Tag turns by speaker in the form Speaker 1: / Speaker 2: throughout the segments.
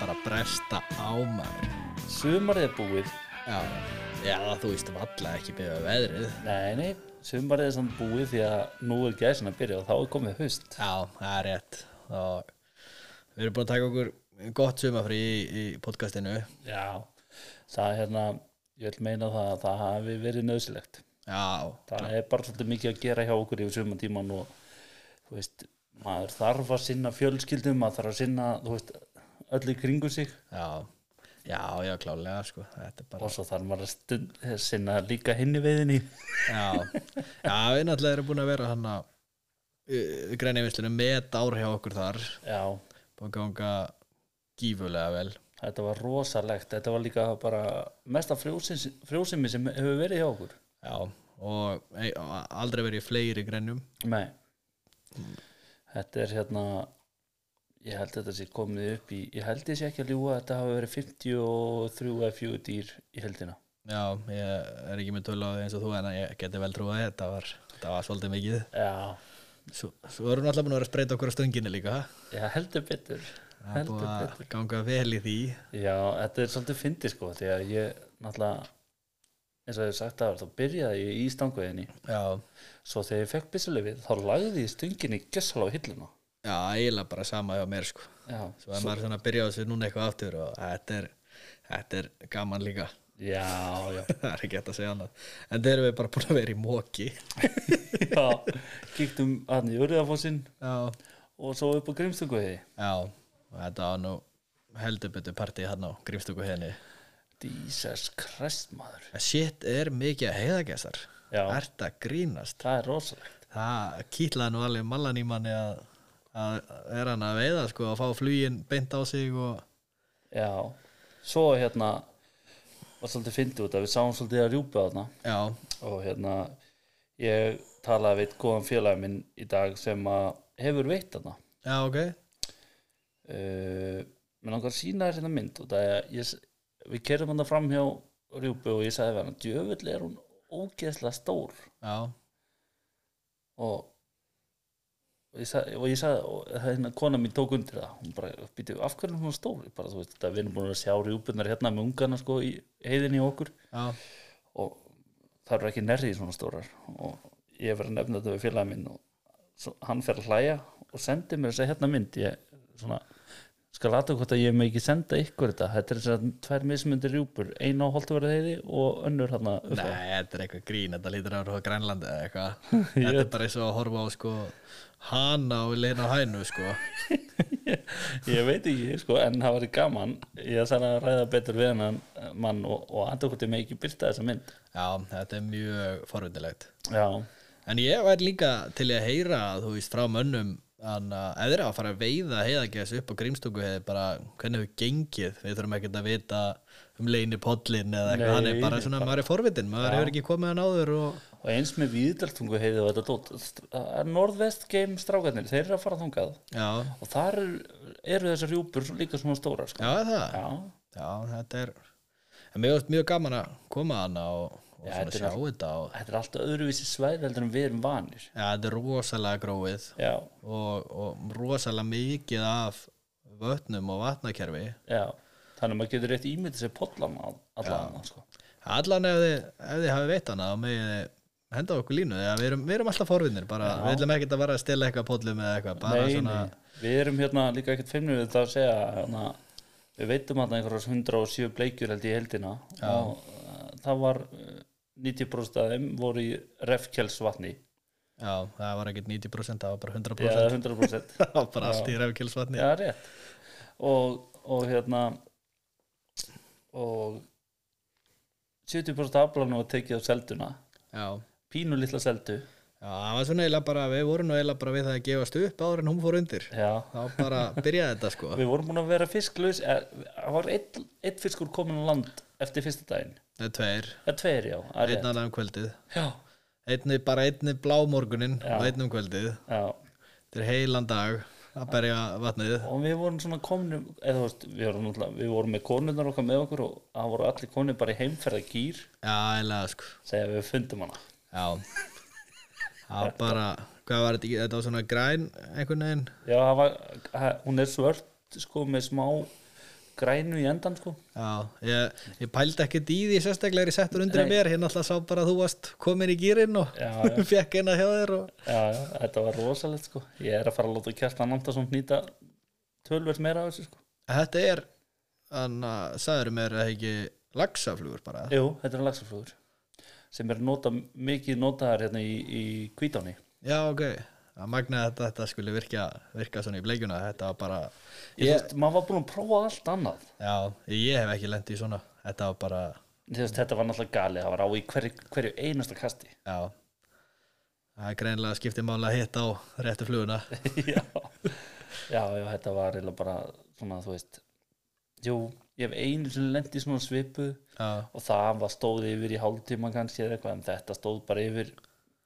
Speaker 1: bara bresta á maður
Speaker 2: Sumarið er búið
Speaker 1: Já, já þú veist valla ekki beða veðrið
Speaker 2: Nei, nei, sumarið er samt búið því að nú er gæsin að byrja og þá er komið haust
Speaker 1: Já, það er rétt og við erum búin að taka okkur gott sumafrí í, í podcastinu
Speaker 2: Já, það er hérna ég vil meina það að það hafi verið nöðsilegt
Speaker 1: Já,
Speaker 2: það er bara svolítið mikið að gera hjá okkur yfir sumatíman og þú veist, maður þarf að sinna fjölskyldum maður þarf að sinna, þú veist, öll í kringu sig
Speaker 1: já Já, já, klálega sko Þetta er bara
Speaker 2: og svo þarf maður að stund, sinna líka hinni veiðinni
Speaker 1: Já, já við náttúrulega erum búin að vera hann að uh, grænivinslunum met ár hjá okkur þar
Speaker 2: Já,
Speaker 1: búin að ganga gífulega vel
Speaker 2: þetta var rosalegt þetta var líka bara mesta frjósins, frjósimi sem hefur verið hjá okkur
Speaker 1: Já, og ei, og aldrei verið í fleiri grænum
Speaker 2: Nei Þetta er hérna ég held þetta sé komið upp í ég held þessi ekki að ljúga að þetta hafa verið 53 eða 4 dýr í heldina
Speaker 1: Já, ég er ekki með tölu á því eins og þú en ég geti vel trúið að þetta var, þetta var svolítið mikið
Speaker 2: Já,
Speaker 1: Svo, svo erum við alltaf búin að vera að spreita okkur á stönginni líka
Speaker 2: já heldur betur
Speaker 1: Það er
Speaker 2: heldur
Speaker 1: búin
Speaker 2: betur
Speaker 1: að ganga vel í því
Speaker 2: Já, þetta er svolítið fyndið sko því að ég náttúrulega eins og ég hef sagt að þá byrjaði ég í stanguðinni
Speaker 1: Já,
Speaker 2: svo þegar ég fekk byssulefið þá lagði ég stönginni gessal á hilluna
Speaker 1: já, eiginlega bara sama hjá mér sko
Speaker 2: Já,
Speaker 1: Svo er maður svona að byrja á þessu núna eitthvað aftur og þetta er, þetta er gaman líka
Speaker 2: já, já,
Speaker 1: Það er ekki hægt að segja annað En þeir eru við bara búin að vera í móki
Speaker 2: já kíktum hann í Uriðafossinn
Speaker 1: Já,
Speaker 2: og svo upp á Grimstunguði
Speaker 1: já, og þetta var nú heldur betur partíð hann á grímstöku henni
Speaker 2: Jesus Christ maður
Speaker 1: Shit, er mikið að heiðagessar
Speaker 2: Já.
Speaker 1: Ert að grínast
Speaker 2: það er rosalegt
Speaker 1: Það kýtlaði nú alveg mallan í manni að, að er hann að veiða sko að fá flugin beint á sig og
Speaker 2: já, svo hérna var svolítið fyndið út að við sáum svolítið að rjúpa þarna
Speaker 1: já,
Speaker 2: og hérna ég talaði við góðan félagi minn í dag sem að hefur veitt þarna
Speaker 1: já ok
Speaker 2: uh, mér langar að sína þér hérna mynd út að ég, við kerum hann fram hjá rjúpu og ég sagði við hann djöfull er hún ógeðslega stór
Speaker 1: já,
Speaker 2: og og ég sagði, og ég sagði og hérna kona mín tók undir það hún bara, býtu, af hverju er hún svona stór Ég bara, þú veist, þetta við erum búin að sjá rjúpunar hérna með ungana sko í heiðinni í okkur
Speaker 1: já,
Speaker 2: og það eru ekki nærri svona stórar og ég verið að nefna þetta við félaga minn og svo, hann fer að hlæja og sendi mér þess að hérna mynd ég svona, skal aðtöku hvort að ég með ekki senda ykkur þetta, þetta er þess að tvær mismundir rjúpur, eina á Holtavörðu heiði og önnur hérna
Speaker 1: nei, þetta er eitthvað grín þetta lítur að vera á Grænlandi eða eitthvað þetta er bara eins og að horfa á sko hana og leina á hænu sko
Speaker 2: ég veit ekki sko, en það var gaman ég þarf að ræða betur við hennan mann og, og andur hvort ég með ekki byrta þessa mynd
Speaker 1: já, þetta er mjög forvindilegt
Speaker 2: já,
Speaker 1: en ég væri líka til í að heyra þú veist frá mönnum Þannig að eða þeir eru að fara að veiða heiðagess upp á grímstungu hefði bara hvernig hefur gengið við þurfum ekkert að vita um leini podlin eða eitthvað,
Speaker 2: Nei,
Speaker 1: hann er bara svona maður er forvitin, maður hefur ekki komið hann áður og
Speaker 2: og eins með viðdaltungu heiði og þetta dót það er Norðvest Game strákarnir, þeir eru að fara þangað
Speaker 1: já,
Speaker 2: og þar eru, eru þessar rjúpur svo- líka svona stórar sko.
Speaker 1: já er það
Speaker 2: já,
Speaker 1: já, þetta er en mér finnst mjög gaman að koma hann og, og
Speaker 2: Já,
Speaker 1: svona
Speaker 2: þetta er
Speaker 1: sjá þetta og,
Speaker 2: þetta er alltaf öðruvísi svæð heldur en við erum vanir
Speaker 1: já, þetta er rosalega gróið
Speaker 2: já,
Speaker 1: og, og rosalega mikið af vötnum og vatnakerfi
Speaker 2: já þannig að maður getur rétt ímyndið sér pollan allan sko.
Speaker 1: Allan ef þið, ef þið hafi veit hana þá megið þið henda okkur línu þegar við erum, við erum alltaf forvinnir bara, við ætlum ekkert að vera að stela eitthvað podlum eða eitthvað, bara
Speaker 2: Nei,
Speaker 1: svona
Speaker 2: nei, við erum hérna líka ekkert feimnum við það að segja hérna, við veitum að einhverjars 107 bleikjur held ég í heldina og uh, það var uh, 90% af þeim voru í refkjelsvatni
Speaker 1: já, það var ekkert 90% það var bara 100%
Speaker 2: eða 100%
Speaker 1: það var bara allt í refkjölsvatni já.
Speaker 2: Já, rétt og, og hérna og 70% aflanum var tekið á selduna
Speaker 1: já,
Speaker 2: pínu litla seldu
Speaker 1: það var svona eiginlega bara við vorum nú eiginlega bara við það að gefast upp áður en hún fór undir
Speaker 2: Já,
Speaker 1: þá bara byrjaði þetta sko
Speaker 2: við vorum búin að vera fisklaus eh, það var eitt, eitt fiskur komin á land eftir fyrsta daginn
Speaker 1: það er tveir,
Speaker 2: eða tveir já, það er rétt
Speaker 1: einn annan um kvöldið
Speaker 2: já,
Speaker 1: einni, bara einni blá morgunin og einn um kvöldið,
Speaker 2: já.
Speaker 1: þetta er heilan dag að berja vatnið
Speaker 2: og við vorum svona komnum eða þú veist, við vorum, náttúrulega- við vorum með konurnar okkar með okkur og það voru allir konur bara í heimferða gýr
Speaker 1: já, eiginlega sko
Speaker 2: segja við fundum hana
Speaker 1: Já Það var bara, hvað var þetta ekki, þetta var svona græn einhvern veginn
Speaker 2: já, það var, það- hún er svört sko með smá grænu í endan sko
Speaker 1: Já, ég, ég pældi ekkert í því sérstaklega er ég settur undir
Speaker 2: Nei.
Speaker 1: mér, ég náttúrulega sá bara að þú varst komin í gýrin og
Speaker 2: Já, já.
Speaker 1: fekk eina hjá þér og
Speaker 2: já, já, þetta var rosalegt sko ég er að fara að láta Kjartan Andarsson nýta tölvert meira af þessu sko
Speaker 1: þetta er, þannig að sagður mér að ekki lagsaflugur bara
Speaker 2: Jú, þetta er lagsaflúður sem er nota, mikið notaðar hérna í, í kvítáni
Speaker 1: Já, ok, að magna þetta, þetta skulle virka, virka svona í bleikjuna, þetta var bara
Speaker 2: ég, ég, maður var búin að prófa allt annað
Speaker 1: Já, ég hef ekki lent í svona Þetta var bara,
Speaker 2: Þú veist, þetta var náttúrulega galið, það var á í hverju, hverju einasta kasti
Speaker 1: já Það er greinlega skiptið mála að hitta á réttu fluguna
Speaker 2: já. já, já, þetta var eiginlega bara svona, þú veist jú, ég hef einu sem lendi svona svipu
Speaker 1: Já,
Speaker 2: og það var stóð yfir í hálftíma kannski eða eitthvað, en þetta stóð bara yfir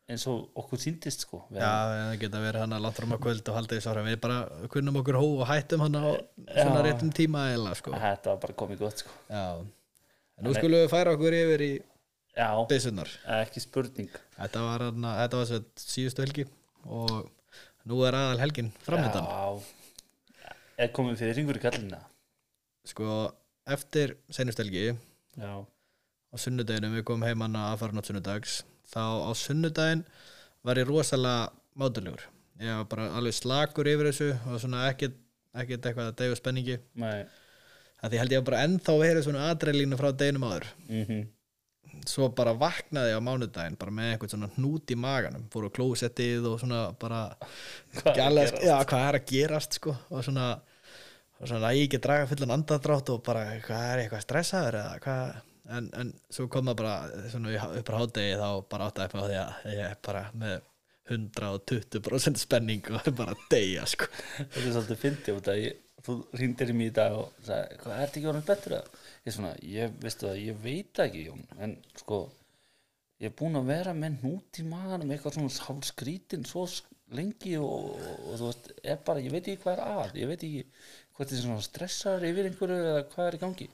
Speaker 2: eins og okkur síndist sko
Speaker 1: já en það geta verið hann að langt fram á kvöld og haldið sára Við bara kunnum okkur hó og hættum hann á svona
Speaker 2: Já.
Speaker 1: réttum tíma eða sko
Speaker 2: þetta var bara komið gott sko
Speaker 1: Já, en nú skulum við færa okkur yfir í
Speaker 2: já,
Speaker 1: byssunar
Speaker 2: ekki spurning
Speaker 1: Þetta var, hann, þetta var sveit, síðustu helgi og nú er aðal helgin framöndan
Speaker 2: já, er komið fyrir yngur í kallina
Speaker 1: Sko, eftir seinustu helgi
Speaker 2: já,
Speaker 1: á sunnudeginum, við komum heim hann að aðfaranótt sunnudags þá á sunnudaginn var ég rosalega mátulegur ég var bara alveg slakur yfir þessu og svona ekkert, ekkert eitthvað að deyfa spenningi
Speaker 2: nei
Speaker 1: að því held ég að bara ennþá verið svona adrenalínu frá deginum áður
Speaker 2: mm
Speaker 1: svo bara vaknaði ég á mánudaginn bara með einhvern svona hnút í maganum fór á klósettið og svona bara
Speaker 2: Hvað er að
Speaker 1: gælaðist, já, hvað er að gerast sko, og svona og svona að ég ekki draga fullan andadrátt og bara hvað er ég eitthvað stressaður eða hvað en, en svo kom það bara svona í há- upp á hádegi þá bara áttaði upp á því að ég er bara með 120% spenning og bara deyja sko
Speaker 2: Þetta er svolítið fyndið út að ég, þú ringdir í mig í dag og sagði, hvað ertu ekki orðin betur að? Ég svona, ég veistu það, ég veit það ekki Jón, en sko ég er búinn að vera með nút í maðanum eitthvað svona sálskrítin svo s- lengi og, og, og þú veist, er bara, ég veit ekki hvað er að, ég veit ekki hvað er svona stressar yfir einhverju eða hvað er í gangi.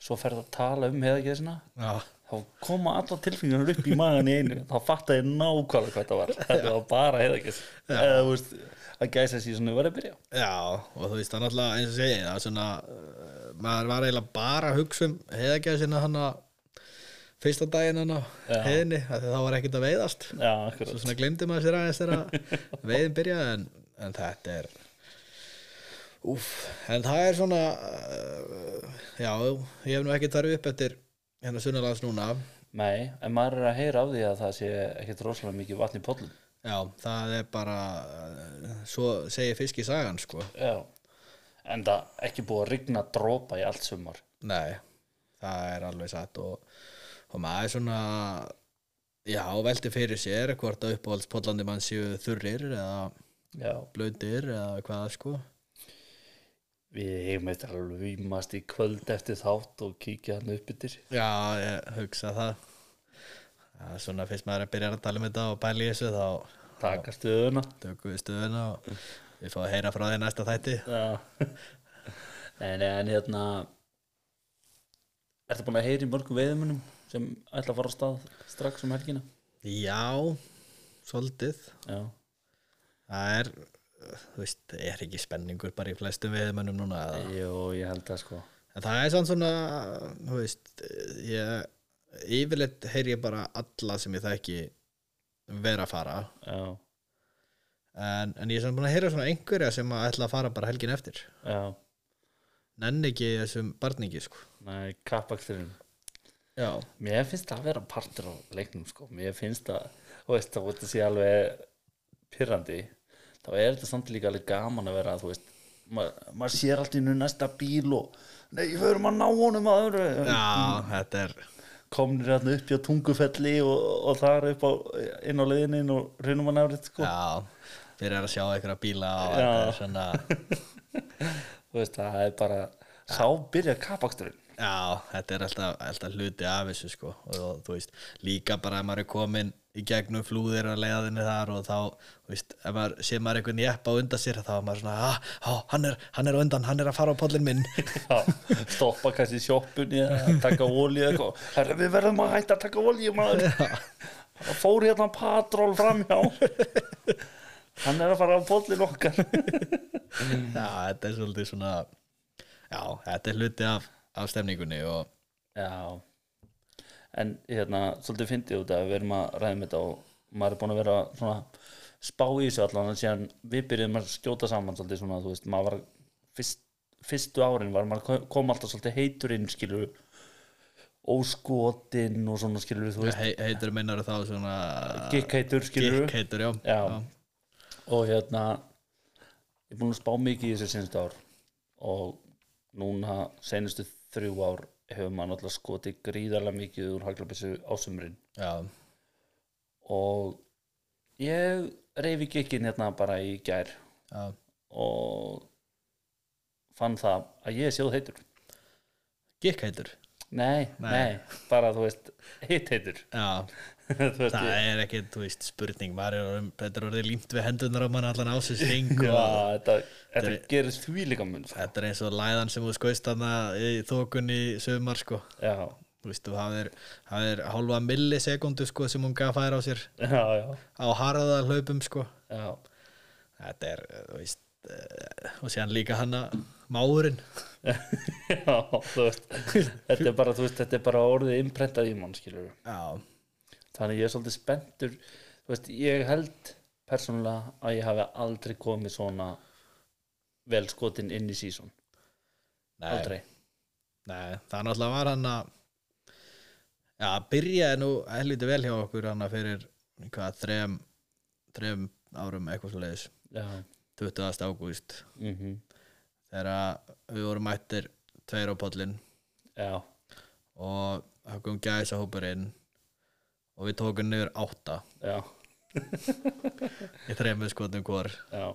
Speaker 2: Svo ferð að tala um heða ekki
Speaker 1: já,
Speaker 2: þá koma alla tilfinningar upp í magan í einu þá fatta ég nákvæmlega hvað það var þetta var bara heða ekki eða þú veist, að gæsa síðan var að byrja
Speaker 1: já og þú veist það náttúrulega eins og segi það er svona, uh, maður var eiginlega bara að hugsa um heiðagjæð sinna hann að fyrsta daginn hann á heiðinni af því það var ekkert að veiðast
Speaker 2: Já, akkurat.
Speaker 1: svo svona glemdi maður sér aðeins þegar veiðin byrjaði en, en þetta er úf, en það er svona uh, já, ég hef nú ekki tarfið upp eftir hérna sunnalands núna
Speaker 2: Nei, en maður er að heyra af því að það sé ekkert rosalega mikið vatn í pollum.
Speaker 1: já, það er bara uh, svo segir fisk í sagan sko
Speaker 2: Já. En það ekki búið að rigna dropa í allt sumar.
Speaker 1: nei, það er alveg satt og, og maður er svona já, velti fyrir sér hvort að uppáhalds pollandi mann séu þurrir eða
Speaker 2: Já.
Speaker 1: blöytir eða hvað sko
Speaker 2: Við eigum eftir að rýmast í kvöld eftir þátt og kíkja hann upp yfir.
Speaker 1: Já, ég hugsa það að svona fyrst maður er að byrja að tala um þetta og pæla í þessu þá
Speaker 2: Taka stöðuna.
Speaker 1: tökum við stöðuna og við fáum að heyra frá þér næsta þætti
Speaker 2: Já. nei, nei, en hérna, ertu búin að heyra í mörgum veiðumunum sem ætla að fara á stað strax um helgina?
Speaker 1: Já, svolítið
Speaker 2: Já.
Speaker 1: Það er, þú veist, er ekki spenningur bara í flestum veðmönnum núna eða?
Speaker 2: Jú, ég held það sko.
Speaker 1: en það er svona svona, þú veist ég, yfirleitt heyr ég bara alla sem ég þekki vera að fara
Speaker 2: Já.
Speaker 1: en, en ég er svona búin að heyra svona einhverja sem að ætla að fara bara helgin eftir
Speaker 2: Já.
Speaker 1: nenni ekki þessum barningi sko
Speaker 2: Nei, kappaksturinn.
Speaker 1: Já,
Speaker 2: Mér finnst það að vera partur á leiknum sko. Mér finnst það, þú veist, þá þetta sé alveg pyrrandi þá er þetta samt líka alveg gaman að vera þú veist, maður, maður sér allt í nú næsta bíl og nei, við erum að ná honum að öðru
Speaker 1: Já, þetta er
Speaker 2: komnir hérna upp hjá tungufelli og, og þar upp á, inn á leiðinin og reynum að náður sko.
Speaker 1: Já, byrjar að sjá einhverja bíla og
Speaker 2: Já.
Speaker 1: þetta er svona
Speaker 2: þú veist, það er bara sá byrja kapaksturinn
Speaker 1: Já, þetta er alltaf, alltaf hluti af þessu sko og þú veist, líka bara ef maður er komin í gegnum flúðir að leiðinni þar og þá, þú veist, ef maður sé maður einhvern jeppa á undan sér þá er maður svona ah, á, hann, er, hann er á undan, hann er að fara á pollin minn
Speaker 2: Já, stoppa kannski í sjoppunni að taka olíu eða eitthvað Herra, við verðum að hætta að taka olíu maður það fór hérna patról framhjá hann er að fara á bollin okkar
Speaker 1: Já, þetta er svolítið svona já, þetta er hluti af, af stemningunni og
Speaker 2: Já En hérna, svolítið fyndið út af að við erum að ræðum þetta og maður er búin að vera svona spá í þessu allan en síðan við byrjuðum að skjóta saman svolítið svona, þú veist, maður var fyrst, fyrstu árin var maður kom- kom alltaf svolítið heitur inn, skilur óskotinn og svona skilur, þú veist,
Speaker 1: he, heitur meinar þá svona
Speaker 2: gikk heitur, skilur
Speaker 1: gikk heitur, já,
Speaker 2: Já. og hérna ég er búin að spá mikið í þessu senstu ár og núna senustu þrjú ár hefur maður náttúrulega skotið gríðarlega mikið úr haglabissu á sumrin
Speaker 1: já,
Speaker 2: og ég reyfi gikkin hérna bara í gær
Speaker 1: já.
Speaker 2: og fann það að ég er sjóð heitur
Speaker 1: gikk heitur
Speaker 2: nei, nei, bara þú veist heitt heitur
Speaker 1: já,
Speaker 2: Þú veist,
Speaker 1: það
Speaker 2: ég-
Speaker 1: er ekki, þú veist, spurning maður er orðin, þetta er orðið límt við hendunar á mann allan ásins
Speaker 2: Já,
Speaker 1: og
Speaker 2: þetta, þetta gerir því líka mun
Speaker 1: Þetta er eins og læðan sem þú skoist þarna í þókunni sömar sko
Speaker 2: já,
Speaker 1: þú veist, þú hafðir, hafðir hálfa millisekundu sko sem hún gaf færa á sér
Speaker 2: já, já,
Speaker 1: á harða hlaupum sko
Speaker 2: já
Speaker 1: þetta er, þú veist eh, og síðan líka hana máurinn
Speaker 2: Já, þú veist þetta er bara, þú veist, þetta er bara orðið imprentað í mann, skilur
Speaker 1: já,
Speaker 2: þannig að ég er svolítið spenntur þú veist, ég held persónulega að ég hafi aldrei komið svona vel skotin inn í sísón,
Speaker 1: nei,
Speaker 2: aldrei
Speaker 1: nei það náttúrulega var hana já, byrjaði nú helviti vel hjá okkur hana fyrir hvað, þrem þrem árum eitthvað svo leiðis
Speaker 2: já,
Speaker 1: 20. ágúst
Speaker 2: mm
Speaker 1: þegar við vorum mættir tveir á pollin
Speaker 2: já,
Speaker 1: og það kom gæsa hópurinn og við tókum niður átta
Speaker 2: já,
Speaker 1: í þremur skotum hvor
Speaker 2: já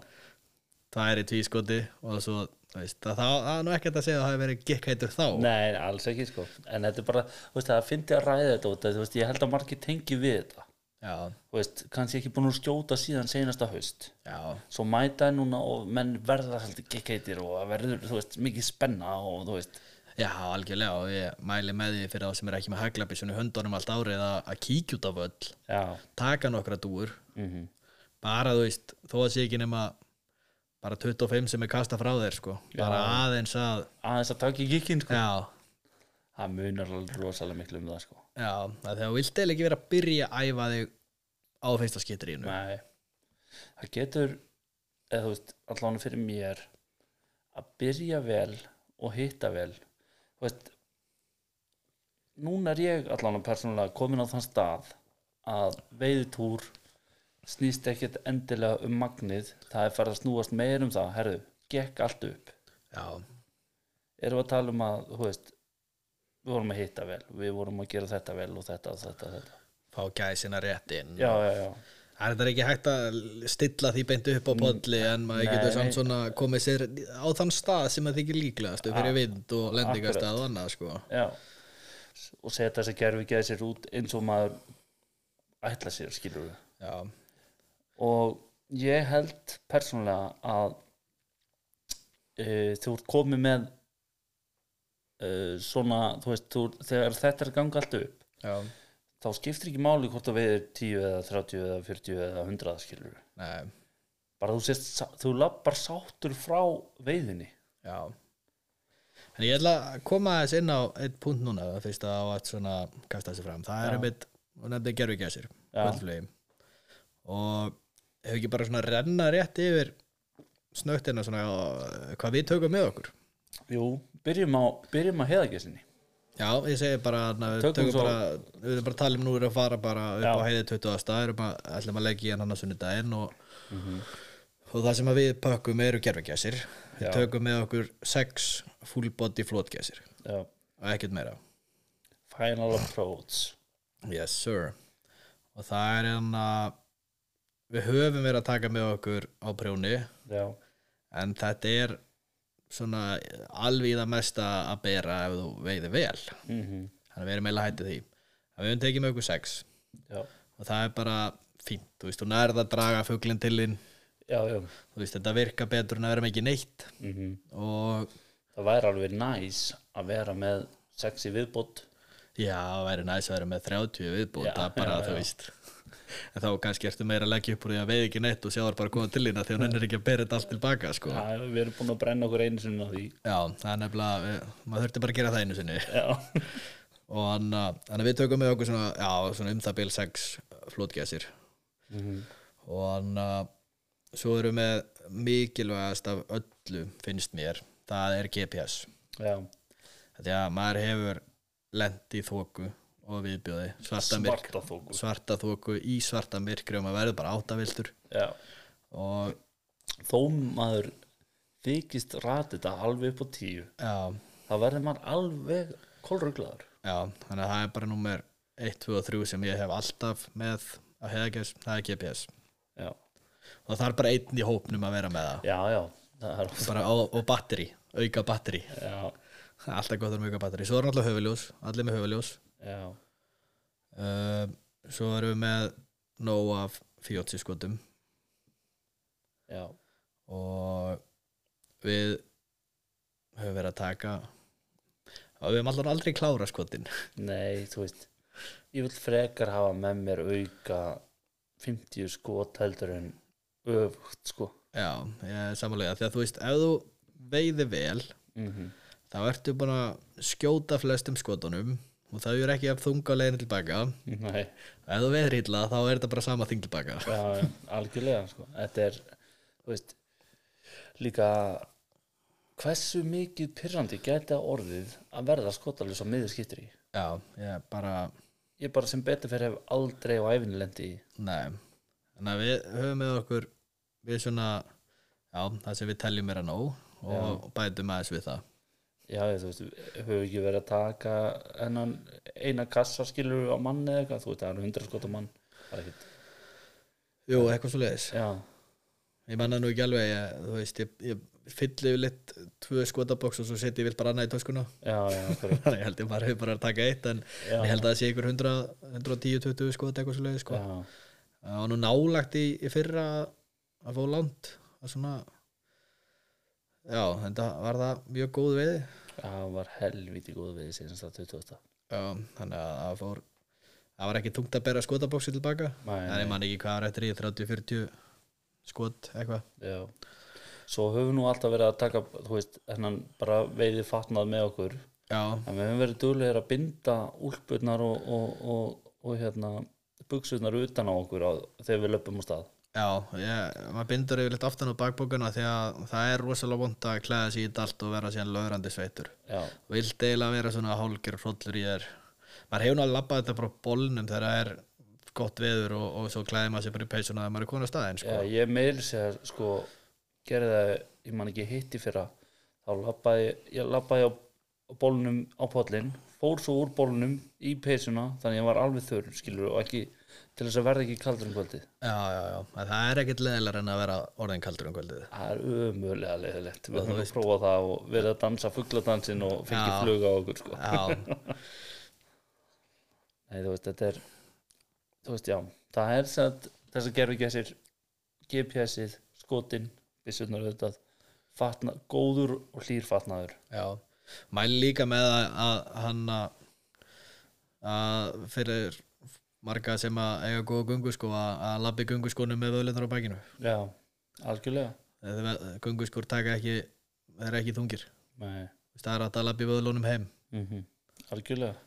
Speaker 1: það er í tvískoti og svo þú veist, það, það, það er nú ekkert að segja að það hefur verið gikk heitur þá
Speaker 2: nei, nei, alls ekki sko en þetta er bara, þú veist, það fyndi að ræða þetta út af, þú veist, ég held að margir tengi við þetta
Speaker 1: já,
Speaker 2: þú veist, kannski ekki búin að skjóta síðan seinasta haust
Speaker 1: já,
Speaker 2: svo mæta þeir núna og menn verða heldur gekkheitir og það verður, þú veist, mikið spenna og þú veist,
Speaker 1: já, algjörlega og ég mæli með því fyrir þá sem er ekki með haglabissunni hundunum allt árið að, að kíkja út af öll
Speaker 2: já
Speaker 1: taka nokkra dúur
Speaker 2: mm
Speaker 1: bara þú veist, þó að sé ekki nema bara 25 sem er kasta frá þér sko, bara aðeins að
Speaker 2: aðeins að taka í kikkin sko.
Speaker 1: já,
Speaker 2: það munar alveg rosalega miklu um það sko.
Speaker 1: Já, það er þegar þú vilt eða ekki vera að byrja að æfa þig á fyrsta skitterínu
Speaker 2: Nei, það getur eða þú veist, allan fyrir mér að byrja vel og hitta vel þú veist núna er ég allan persónulega komin á þann stað að veiðutúr snýst ekkert endilega um magnið það er farið að snúast meir um það herðu, gekk allt upp
Speaker 1: Já,
Speaker 2: erum við að tala um að, þú veist við vorum að hitta vel, við vorum að gera þetta vel og þetta og þetta, og þetta.
Speaker 1: fá gæsina rétt inn
Speaker 2: Já, já, já,
Speaker 1: Það er þetta ekki hægt að stilla því beint upp á podli en maður
Speaker 2: Mm. Nei,
Speaker 1: getur
Speaker 2: nei.
Speaker 1: samt svona komið sér á þann stað sem það þykir líklegast fyrir vind og lendingastað og annað sko
Speaker 2: já og setja þessi gerfi geði sér út eins og maður ætla sér skilur við
Speaker 1: Já,
Speaker 2: og ég held persónulega að uh, þú ert komið með uh, svona þú veist, þú, þegar þetta er að ganga allt upp
Speaker 1: já,
Speaker 2: þá skiptir ekki máli hvort að við er 10 eða 30 eða 40 eða 100 skilur við
Speaker 1: nei,
Speaker 2: bara þú sést, sá- þú lappar sáttur frá veiðinni
Speaker 1: já En ég ætla að koma aðeins inn á eitt punkt núna það fyrst að á að svona kasta þessi fram Það er einmitt, hún nefndi gerfi gæsir
Speaker 2: Já.
Speaker 1: kvöldflögi og hefur ekki bara svona renna rétt yfir snögtina svona og hvað við tökum með okkur
Speaker 2: jú, byrjum á, byrjum á heiðagessinni
Speaker 1: já, ég segi bara na, við
Speaker 2: Tökum
Speaker 1: tökum,
Speaker 2: svo-
Speaker 1: bara, við erum bara að tala um nú erum að fara bara upp
Speaker 2: Já.
Speaker 1: á heiði 20. stað erum að, ætlum að leggja í hann annars unni daginn og,
Speaker 2: Mhm.
Speaker 1: og það sem að við pökkum eru gerfugjæsir við
Speaker 2: Já.
Speaker 1: tökum með okkur sex full body flótgjæsir
Speaker 2: já,
Speaker 1: og ekkert meira
Speaker 2: final approach
Speaker 1: Yes sir og það er hann að við höfum verið að taka með okkur á prjóni
Speaker 2: já,
Speaker 1: en þetta er svona alveg það mesta að bera ef þú veiði vel
Speaker 2: mhm
Speaker 1: þannig að við erum eiginlega hættið því en við höfum tekið með okkur sex
Speaker 2: já,
Speaker 1: og það er bara fínt, þú veist, þú nærð að draga fuglinn til þín,
Speaker 2: já, já.
Speaker 1: þú veist, þetta virka betur en að vera með ekki neitt
Speaker 2: mhm.
Speaker 1: og
Speaker 2: það væri alveg næs að vera með sexi viðbót
Speaker 1: já, það væri næs að vera með 30 viðbúð,
Speaker 2: Já,
Speaker 1: það er bara,
Speaker 2: já,
Speaker 1: þú
Speaker 2: já.
Speaker 1: veist en þá kannski ertu meira að leggja upp úr því að veið ekki neitt og sjáðar bara góða til lína þegar hann er ekki að bera þetta allt tilbaka sko.
Speaker 2: Já, við erum búin að brenna okkur einu sinni á því
Speaker 1: já, það er nefnilega eh, maður þurfti bara að gera það einu sinni
Speaker 2: Já,
Speaker 1: og hann að við tökum með okkur svona, já, svona um það bil sex flótgæsir
Speaker 2: Mhm.
Speaker 1: og hann að svo erum við mikilvægast af öllu finnst mér, það er GPS
Speaker 2: já,
Speaker 1: því að maður hefur lent í þóku og viðbjóði svarta, myrk,
Speaker 2: svarta þóku
Speaker 1: svarta þóku í svarta myrkri og maður verður bara áttaviltur
Speaker 2: Já,
Speaker 1: og
Speaker 2: þó maður þykist rati þetta alveg upp á tíu
Speaker 1: já,
Speaker 2: þá verður maður alveg kolruglaður
Speaker 1: já, þannig að það er bara númer 1, 2 og 3 sem ég hef alltaf með á hefðagjöfs, það er GPS
Speaker 2: Já,
Speaker 1: og það er bara einn í hópnum að vera með það
Speaker 2: já, já, það er
Speaker 1: bara, og, og batteri, auka batteri
Speaker 2: Já,
Speaker 1: alltaf gott um auka batteri, svo er náttúrulega höfuljós allir með höfuljós
Speaker 2: já,
Speaker 1: uh, svo erum við með nóg af fjótsi skotum
Speaker 2: já
Speaker 1: og við höfum verið að taka og við höfum allan aldrei klára skotin
Speaker 2: Nei, þú veist Ég vil frekar hafa með mér auka 50 skot heldur en öfugt sko
Speaker 1: já, samanlega, því að þú veist ef þú veiði vel
Speaker 2: mm
Speaker 1: þá ertu búin að skjóta flestum skotunum og þau eru ekki að þunga á leiðin tilbaka
Speaker 2: Nei,
Speaker 1: ef þú veiðir illa þá er þetta bara sama þing tilbaka
Speaker 2: já, já, algjörlega sko Þetta er, þú veist líka hversu mikið pyrrandi gæti að orðið að verða skotalus á miður skiptir í
Speaker 1: já, ég bara,
Speaker 2: Ég bara sem betur fyrir hef aldrei á æfinni lendi í
Speaker 1: nei þannig að við höfum með okkur við svona, já, það sem við teljum er að nóg og bætum aðeins við það
Speaker 2: Já, ég, þú veist, höfum ekki verið að taka hennan eina kassa skilur á manni eða eitthvað, þú veist, það er hundra skot á mann bara ekkert,
Speaker 1: jú, eitthvað svo leiðis
Speaker 2: já,
Speaker 1: ég manna nú ekki alveg ég, þú veist, ég, ég fylli yfir litt tvö skotaboks og svo setja ég vilt bara annað í töskuna
Speaker 2: já, já, fyrir,
Speaker 1: ég held ég bara, bara að taka eitt en
Speaker 2: Já.
Speaker 1: ég held að það sé ykkur 100 110-20 skot eitthvað svo sko.
Speaker 2: já,
Speaker 1: það var nú nálagt í, í fyrra að fá land að svona já, þetta var það mjög góð veið
Speaker 2: það var helviti góð við þessi sem það 28
Speaker 1: já, þannig að það fór það var ekki tungt að bera skotabóksi tilbaka
Speaker 2: Nei,
Speaker 1: en ég man ekki hvað var eftir í 30-40 skot eitthvað
Speaker 2: já, svo höfum nú alltaf verið að taka, þú veist, hennan bara veiði fatnað með okkur,
Speaker 1: já,
Speaker 2: en við höfum verið duglegir að binda úlpurnar og, og, og, og hérna, buksurnar utan á okkur á, þegar við löpum á stað,
Speaker 1: Já, ég, maður bindur yfirleitt aftan á bakbókuna því að það er rosalega vond að klæða sig í þetta allt og vera síðan löðrandi sveitur.
Speaker 2: já,
Speaker 1: Vilt eiginlega vera svona hálgir hrollur í þér. Maður hefur nú að labba þetta frá bólnum þegar það er gott veður og, og svo klæði maður sér bara í peysuna þegar maður er konar staðin, sko.
Speaker 2: Já, ég meiri sér sko gerði það, ég man ekki hitti fyrra þá labbaði, ég labbaði á á bólnum á pollin fór svo úr bólnum í peysuna þannig að ég var alveg þurr, skilur og ekki til þess að verða ekki kaldur um kvöldið
Speaker 1: Já, já, já. En það er ekkit leðilega en að vera orðin kaldur um kvöldið.
Speaker 2: það er ömulega leiðilegt við höfum að prófa það og verða að dansa fugladansinn og fylgja fluga á okkur sko.
Speaker 1: Já,
Speaker 2: Nei, þú veist, þetta er þú veist, já, það er satt, þess að gerfi gessir GPS-ið, skotin, byssunar auðvitað, fatna, góður og hlýr fatnaður
Speaker 1: já. Mæli líka með að, að hann að að fyrir marga sem að eiga góða gungu sko að, að labbi gungu með vöðlunar á bækinu.
Speaker 2: Já, algjörlega
Speaker 1: þegar gunguskur taka ekki þeir eru ekki þungir
Speaker 2: Nei.
Speaker 1: Þú veist, það er hægt að labbi vöðlunum heim
Speaker 2: Mm Algjörlega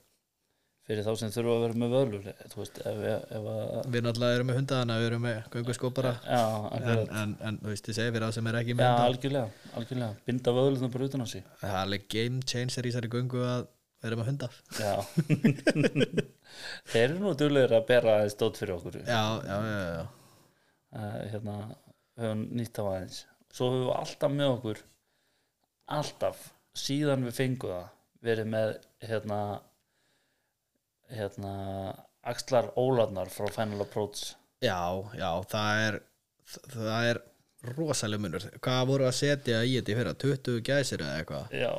Speaker 2: Fyrir þá sem þurfa að vera með völur Þú veist, ef, ef að
Speaker 1: við náttúrulega erum með hundaðana, við erum með gunguskó bara
Speaker 2: Já,
Speaker 1: en,
Speaker 2: algjörlega,
Speaker 1: en, en þú veist, ég segi fyrir það sem er ekki
Speaker 2: já,
Speaker 1: með hunda
Speaker 2: algjörlega, algjörlega. Binda völurna bara utan á sig
Speaker 1: það er alveg game changer í þessari gungu að við erum með hunda
Speaker 2: Já Þeir eru nú duglegir að bera aðeins stótt fyrir okkur uh,
Speaker 1: já, já, já, já,
Speaker 2: Hérna, höfum nýtt af aðeins Svo höfum við alltaf með okkur Alltaf Síðan við fengum það Verið með, hérna Hérna Axlar Ólarnar frá Final Approach
Speaker 1: já, já það er það er rosaleg munur hvað voru að setja í þetta í fyrra 20 gæsir eða eitthvað
Speaker 2: Já,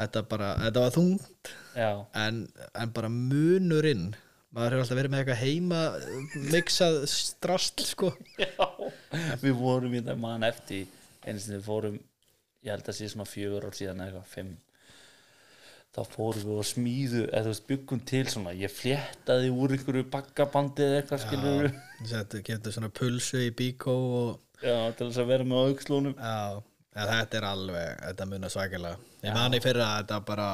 Speaker 1: þetta, bara, þetta var þungt
Speaker 2: já,
Speaker 1: en, en bara munurinn maður hefur alltaf verið með eitthvað heima miksað strastl sko
Speaker 2: já Við vorum hérna, í það mann eftir eins og við fórum ég held að sé svona fjögur ár síðan eða eitthvað, fimm þá fórum við að smíðu eða þú veist byggum til svona ég fléttaði úr einhverju bakkabandi eða eitthvað skilur
Speaker 1: Settu, getur svona pulsu í bíkó og
Speaker 2: já, til þess að vera með aukslónum
Speaker 1: Já, en þetta er alveg, þetta munar svakilega. Ég man í fyrra að þetta bara,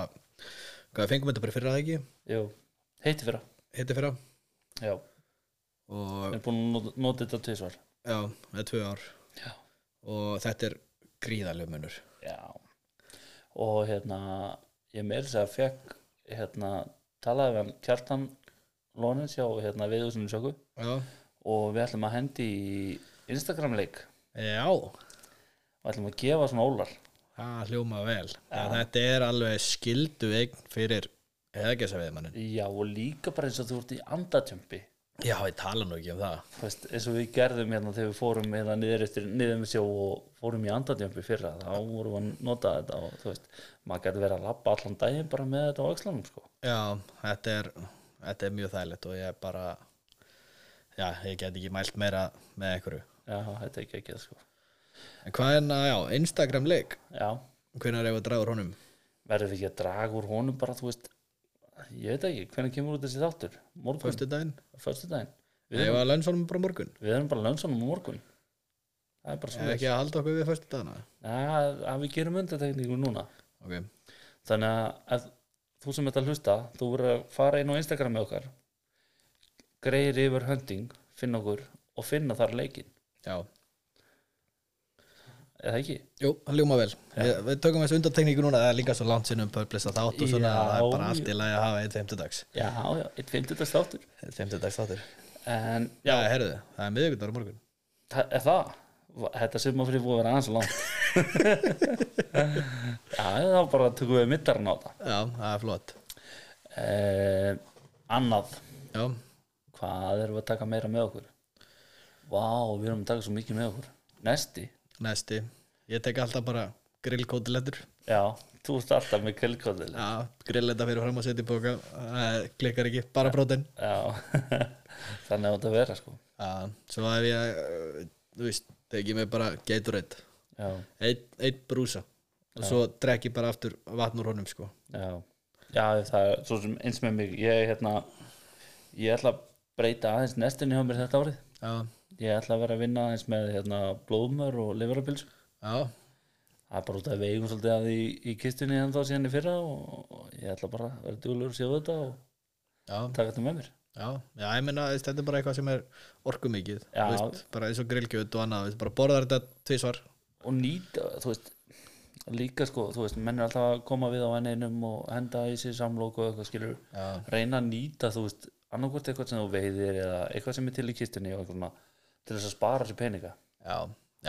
Speaker 1: hvað við fengum þetta bara í fyrra eða ekki,
Speaker 2: já, heiti fyrra
Speaker 1: hitti fyrra
Speaker 2: já,
Speaker 1: og
Speaker 2: við erum búin að nota, nota þetta tvisvar
Speaker 1: já, það er tvö ár
Speaker 2: já,
Speaker 1: og þetta er gríðarlega munur.
Speaker 2: já og hérna ég meir þess að fekk hérna, talaði við hann Kjartan Lónins hjá hérna viðhúsinu sjóku
Speaker 1: Já,
Speaker 2: og við ætlum að hendi í Instagram leik
Speaker 1: já,
Speaker 2: og ætlum að gefa svona ólar
Speaker 1: það hljóma vel. En þetta er alveg skildu eign fyrir hefðgæsa viðmannin.
Speaker 2: já, og líka bara eins og þú ert í andatjömpi
Speaker 1: Já, ég tala nú ekki um það.
Speaker 2: Þú veist, eins og við gerðum hérna þegar við fórum hérna niður eftir niður með sjó og fórum í andadjömpi fyrra þá vorum við að nota þetta og þú veist, maður gæti verið að labba allan daginn bara með þetta á öxlanum sko.
Speaker 1: Já, þetta er, þetta er mjög þægilegt og ég bara, já, ég get ekki mælt meira með einhverju.
Speaker 2: já, þetta er ekki ekki sko.
Speaker 1: En hvað er það, já, Instagram leik,
Speaker 2: já,
Speaker 1: hvenær er að draga úr honum?
Speaker 2: verðum við ekki að draga úr honum bara, þú veist, ég veit ekki hvernig kemur út þessi þáttur, morgun
Speaker 1: Föstu daginn?
Speaker 2: fyrstu daginn, við,
Speaker 1: Ég var að lönnsónum bara á morgun
Speaker 2: við erum bara lönsanum á morgun það er bara
Speaker 1: Ég er
Speaker 2: svona
Speaker 1: ekki að halda okkur við föstu dagana
Speaker 2: að, að við gerum undartekningu núna
Speaker 1: Ok,
Speaker 2: þannig að ef þú sem ert að hlusta þú verður að fara inn á Instagram með okkar greiðir yfir hunting finna okkur og finna þar leikinn
Speaker 1: já
Speaker 2: eða ekki?
Speaker 1: Jú, hann ljúma vel Við, við tökum þessu undartekningu núna Það er líka svo langt sinni um purplista þátt og svona
Speaker 2: Já.
Speaker 1: Það er bara allt í lagi að hafa eitt femtudags
Speaker 2: Já, já, eitt 50. státtur
Speaker 1: Eitt femtudags þáttur
Speaker 2: en
Speaker 1: Já, herðu, það er miðvikudar á morgun
Speaker 2: þa- er það Va- þetta sem að fyrir búið að vera aðeins og langt Já, þá bara tökum við middarinn á það
Speaker 1: Já, það er flott
Speaker 2: eh, Annað
Speaker 1: Já,
Speaker 2: hvað erum við að taka meira með okkur? Vá, við erum að taka svo mikið með okkur Næsti,
Speaker 1: næsti Ég tek alltaf bara grillkótilettur
Speaker 2: já, þú ert alltaf með kvöldkvöldil
Speaker 1: Já, grilletta fyrir fram og setja í bóka Það klikkar ekki, bara brotin
Speaker 2: Já, þannig átt að vera sko
Speaker 1: Já, svo hef ég, uh, þú veist, tekið mig bara Gatorade
Speaker 2: Já,
Speaker 1: einn ein brúsa og svo drekk ég bara aftur vatn úr honum sko
Speaker 2: já, já það er svo sem eins með mig Ég, hérna, ég ætla að breyta aðeins nestinni hjá mér þetta árið
Speaker 1: já,
Speaker 2: Ég ætla að vera að vinna aðeins með hérna, blóðmör og lifrapils
Speaker 1: já,
Speaker 2: Það er bara út að við eigum svolítið að í, í kistunni en þá síðan í fyrra og, og ég ætla bara að vera duglur og séu þetta og
Speaker 1: já,
Speaker 2: taka þetta með mér
Speaker 1: já, já ég meina þú veist, þetta er bara eitthvað sem er orkumikið
Speaker 2: Já.
Speaker 1: þú veist, bara eins og grillkjöt og annað þú veist, bara borðar þetta tvisvar
Speaker 2: og nýta, þú veist líka sko, þú veist, menn er alltaf að koma við á enninum og henda í sér samlóku og eitthvað skilur,
Speaker 1: Já.
Speaker 2: reyna að nýta þú veist, annarkvort eitthvað sem þú veiðir eða eitthvað sem er til í kistunni og eitthvað svona til þess að spara sér peninga
Speaker 1: já,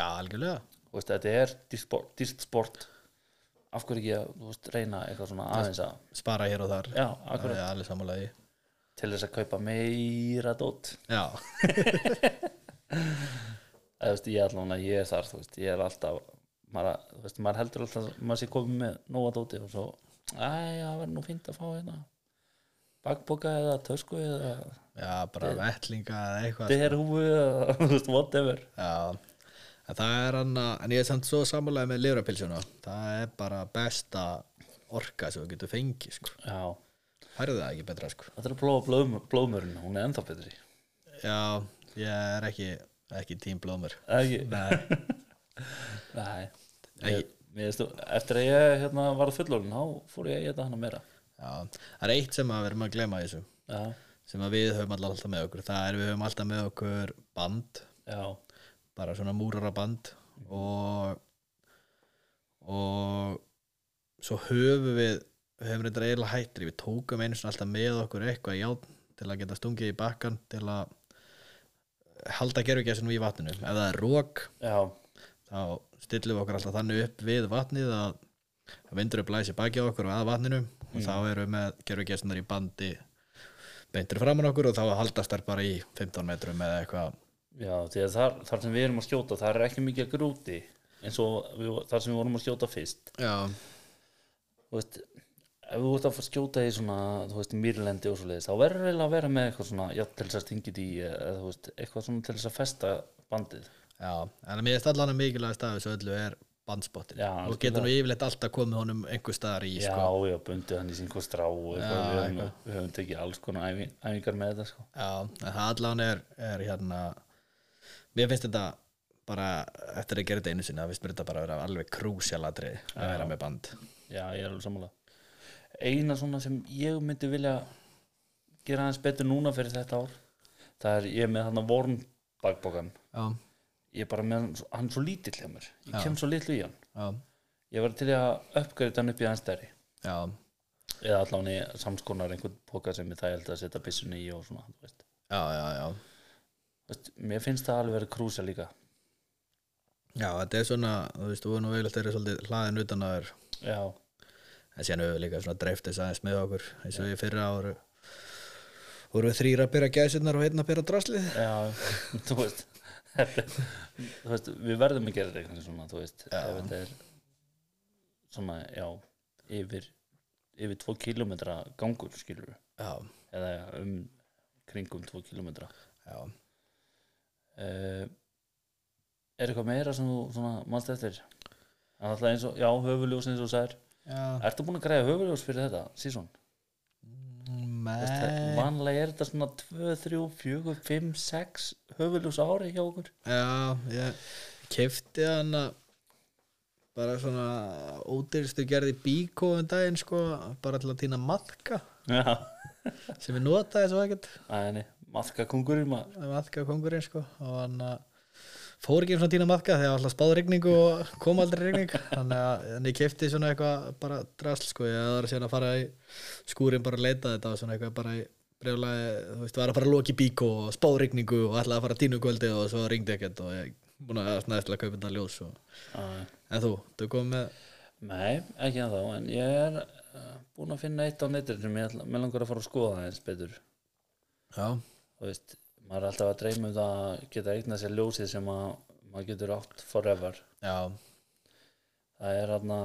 Speaker 1: já, algjörlega
Speaker 2: þú veist, þetta er dýrt sport, dýrt sport af hverju ekki að, þú veist, reyna eitthvað svona aðeins að,
Speaker 1: spara hér og þar
Speaker 2: já, akkurat
Speaker 1: það er alveg samanlega í
Speaker 2: til þess að kaupa meira dót
Speaker 1: já,
Speaker 2: eða þú veist, ég allan að ég er þar, þú veist, ég er alltaf maður, þú veist, maður heldur alltaf að maður sé komið með nóga dóti og svo æ, það verður nú fínt að fá hérna bakboka eða tösku eða
Speaker 1: já, bara vettlinga eða eitthvað
Speaker 2: derhúfu eða, þú veist, whatever
Speaker 1: já, en það er annað en ég er samt svo samanlega með lifrapilsuna það er bara besta orka sem þú getur fengið sko
Speaker 2: já,
Speaker 1: færðu það ekki betra sko
Speaker 2: þetta er að plóa blóm, blómurinn, hún er ennþá betri
Speaker 1: Já, ég er ekki, ekki tímblómur
Speaker 2: Eða ekki,
Speaker 1: Nei, Ekki.
Speaker 2: nei ég, ég, stu, eftir að ég hérna var fullorinn, þá fór ég að geta hana meira
Speaker 1: já, það er eitt sem að við erum að glema þessu
Speaker 2: já,
Speaker 1: sem að við höfum alltaf með okkur það er við höfum alltaf með okkur band
Speaker 2: já,
Speaker 1: bara svona múraraband og og svo höfum við við höfum reyndar eiginlega hættri við tókum einu svona alltaf með okkur eitthvað játn til að geta stungið í bakkan til að halda gerfugæsinu í vatninu ef það er rók
Speaker 2: já,
Speaker 1: þá stillum við okkur alltaf þannig upp við vatnið að vindur upp blæsi baki á okkur og að vatninu og þá erum við með gerfugjastnar í bandi beintur framan okkur og þá haldast þær bara í 15 metrum eða eitthvað
Speaker 2: já því að þar, þar sem við erum að skjóta, það er ekki mikið grúti eins og við, þar sem við vorum að skjóta fyrst
Speaker 1: Já,
Speaker 2: þú veist ef þú ert að fara að skjóta í svona þú veist, mýrlendi og svoleiðis, þá verður eiginlega að vera með eitthvað svona, já, til þess að stingið í eða þú veist, eitthvað svona til þess að festa bandið
Speaker 1: já, en mér er stallanum mikilvægast af þessu öllu er bandspottin
Speaker 2: Já,
Speaker 1: og
Speaker 2: algjörlega.
Speaker 1: getur nú yfirleitt alltaf komið honum einhver staðar í
Speaker 2: já,
Speaker 1: sko.
Speaker 2: já, bundið hann í sínkvað strá og
Speaker 1: Já,
Speaker 2: eitthvað, við, höfum,
Speaker 1: eitthvað.
Speaker 2: við höfum tekið alls konar æfing, æfingar með þetta sko.
Speaker 1: já, en það allan er, er hérna mér finnst þetta bara eftir að gera þetta einu sinni, það finnst mér þetta bara að vera alveg krúsjalatri að vera með band
Speaker 2: já, ég er alveg sammála eina svona sem ég myndi vilja gera aðeins betur núna fyrir þetta ár það er ég er með hann að vorn bakbókan
Speaker 1: já,
Speaker 2: ég er bara með hann, hann er svo lítill hjá mér ég kem svo litlu í hann
Speaker 1: já,
Speaker 2: ég var til í að uppgreita hann upp í hans stærri
Speaker 1: já
Speaker 2: eða allan í samskonar einhvern póka sem ég þægild að setja byssunni í og svona þú veist.
Speaker 1: já, já, já
Speaker 2: Þú veist, mér finnst það alveg verið krúsa líka
Speaker 1: já, þetta er svona, þú veist, þú er nú yfirleitt þeirri svolítið hlaðin utan að þér
Speaker 2: já,
Speaker 1: en síðan höfum við líka svona dreift þess aðeins með okkur eins og við fyrra áru vorum við þrýra að byrja gæðsirnar og einn að byrja draslið
Speaker 2: já, þú veist þú veist, við verðum að gera þetta eitthvað svona, þú veist ef þetta er svona, já yfir, yfir tvo kilometra gangur, skilur við
Speaker 1: já,
Speaker 2: eða um kringum tvo kilometra
Speaker 1: já,
Speaker 2: uh, er eitthvað meira sem þú svona manst eftir Það er alltaf eins og, já, höfuljós eins og þú sagðir
Speaker 1: já.
Speaker 2: Ertu búin að græða höfuljós fyrir þetta, sísón? Eh.
Speaker 1: Nei.
Speaker 2: Vanlega er þetta svona 2, 3, 4, 5, 6 höfuljós ári hjá okkur
Speaker 1: já, ég kefti hann að bara svona ódýrstu gerði bíkó um daginn sko, bara til að týna maðka
Speaker 2: Já,
Speaker 1: sem við notaði svo ekkert
Speaker 2: aðeini, maðkakungurinn maður
Speaker 1: maðka kongurinn sko og hann að fór ekki einu svona tína maðka þegar alltaf spáð rigningu og kom aldrei rigning þannig að en ég kefti svona eitthvað bara drasl sko ég var síðan að fara í skúrin bara að leita þetta og svona eitthvað bara í brjólaði, þú veist, var að fara að loki bík og spáð rigningu og ætlaði að fara að tínu kvöldi og svo ringdi ekkert og ég búin að snæðist til að kaupa þetta ljós og...
Speaker 2: Aðeini.
Speaker 1: en þú, þú kom með
Speaker 2: Nei, ekki en þá, en ég er uh, búin að finna eitt á netinu sem ég ætla- mig langar að fara að skoða það eins betur
Speaker 1: já,
Speaker 2: Þú veist, maður er alltaf að dreyma um það að geta eigna sér ljósið sem að maður getur átt forever
Speaker 1: já,
Speaker 2: Það er aðna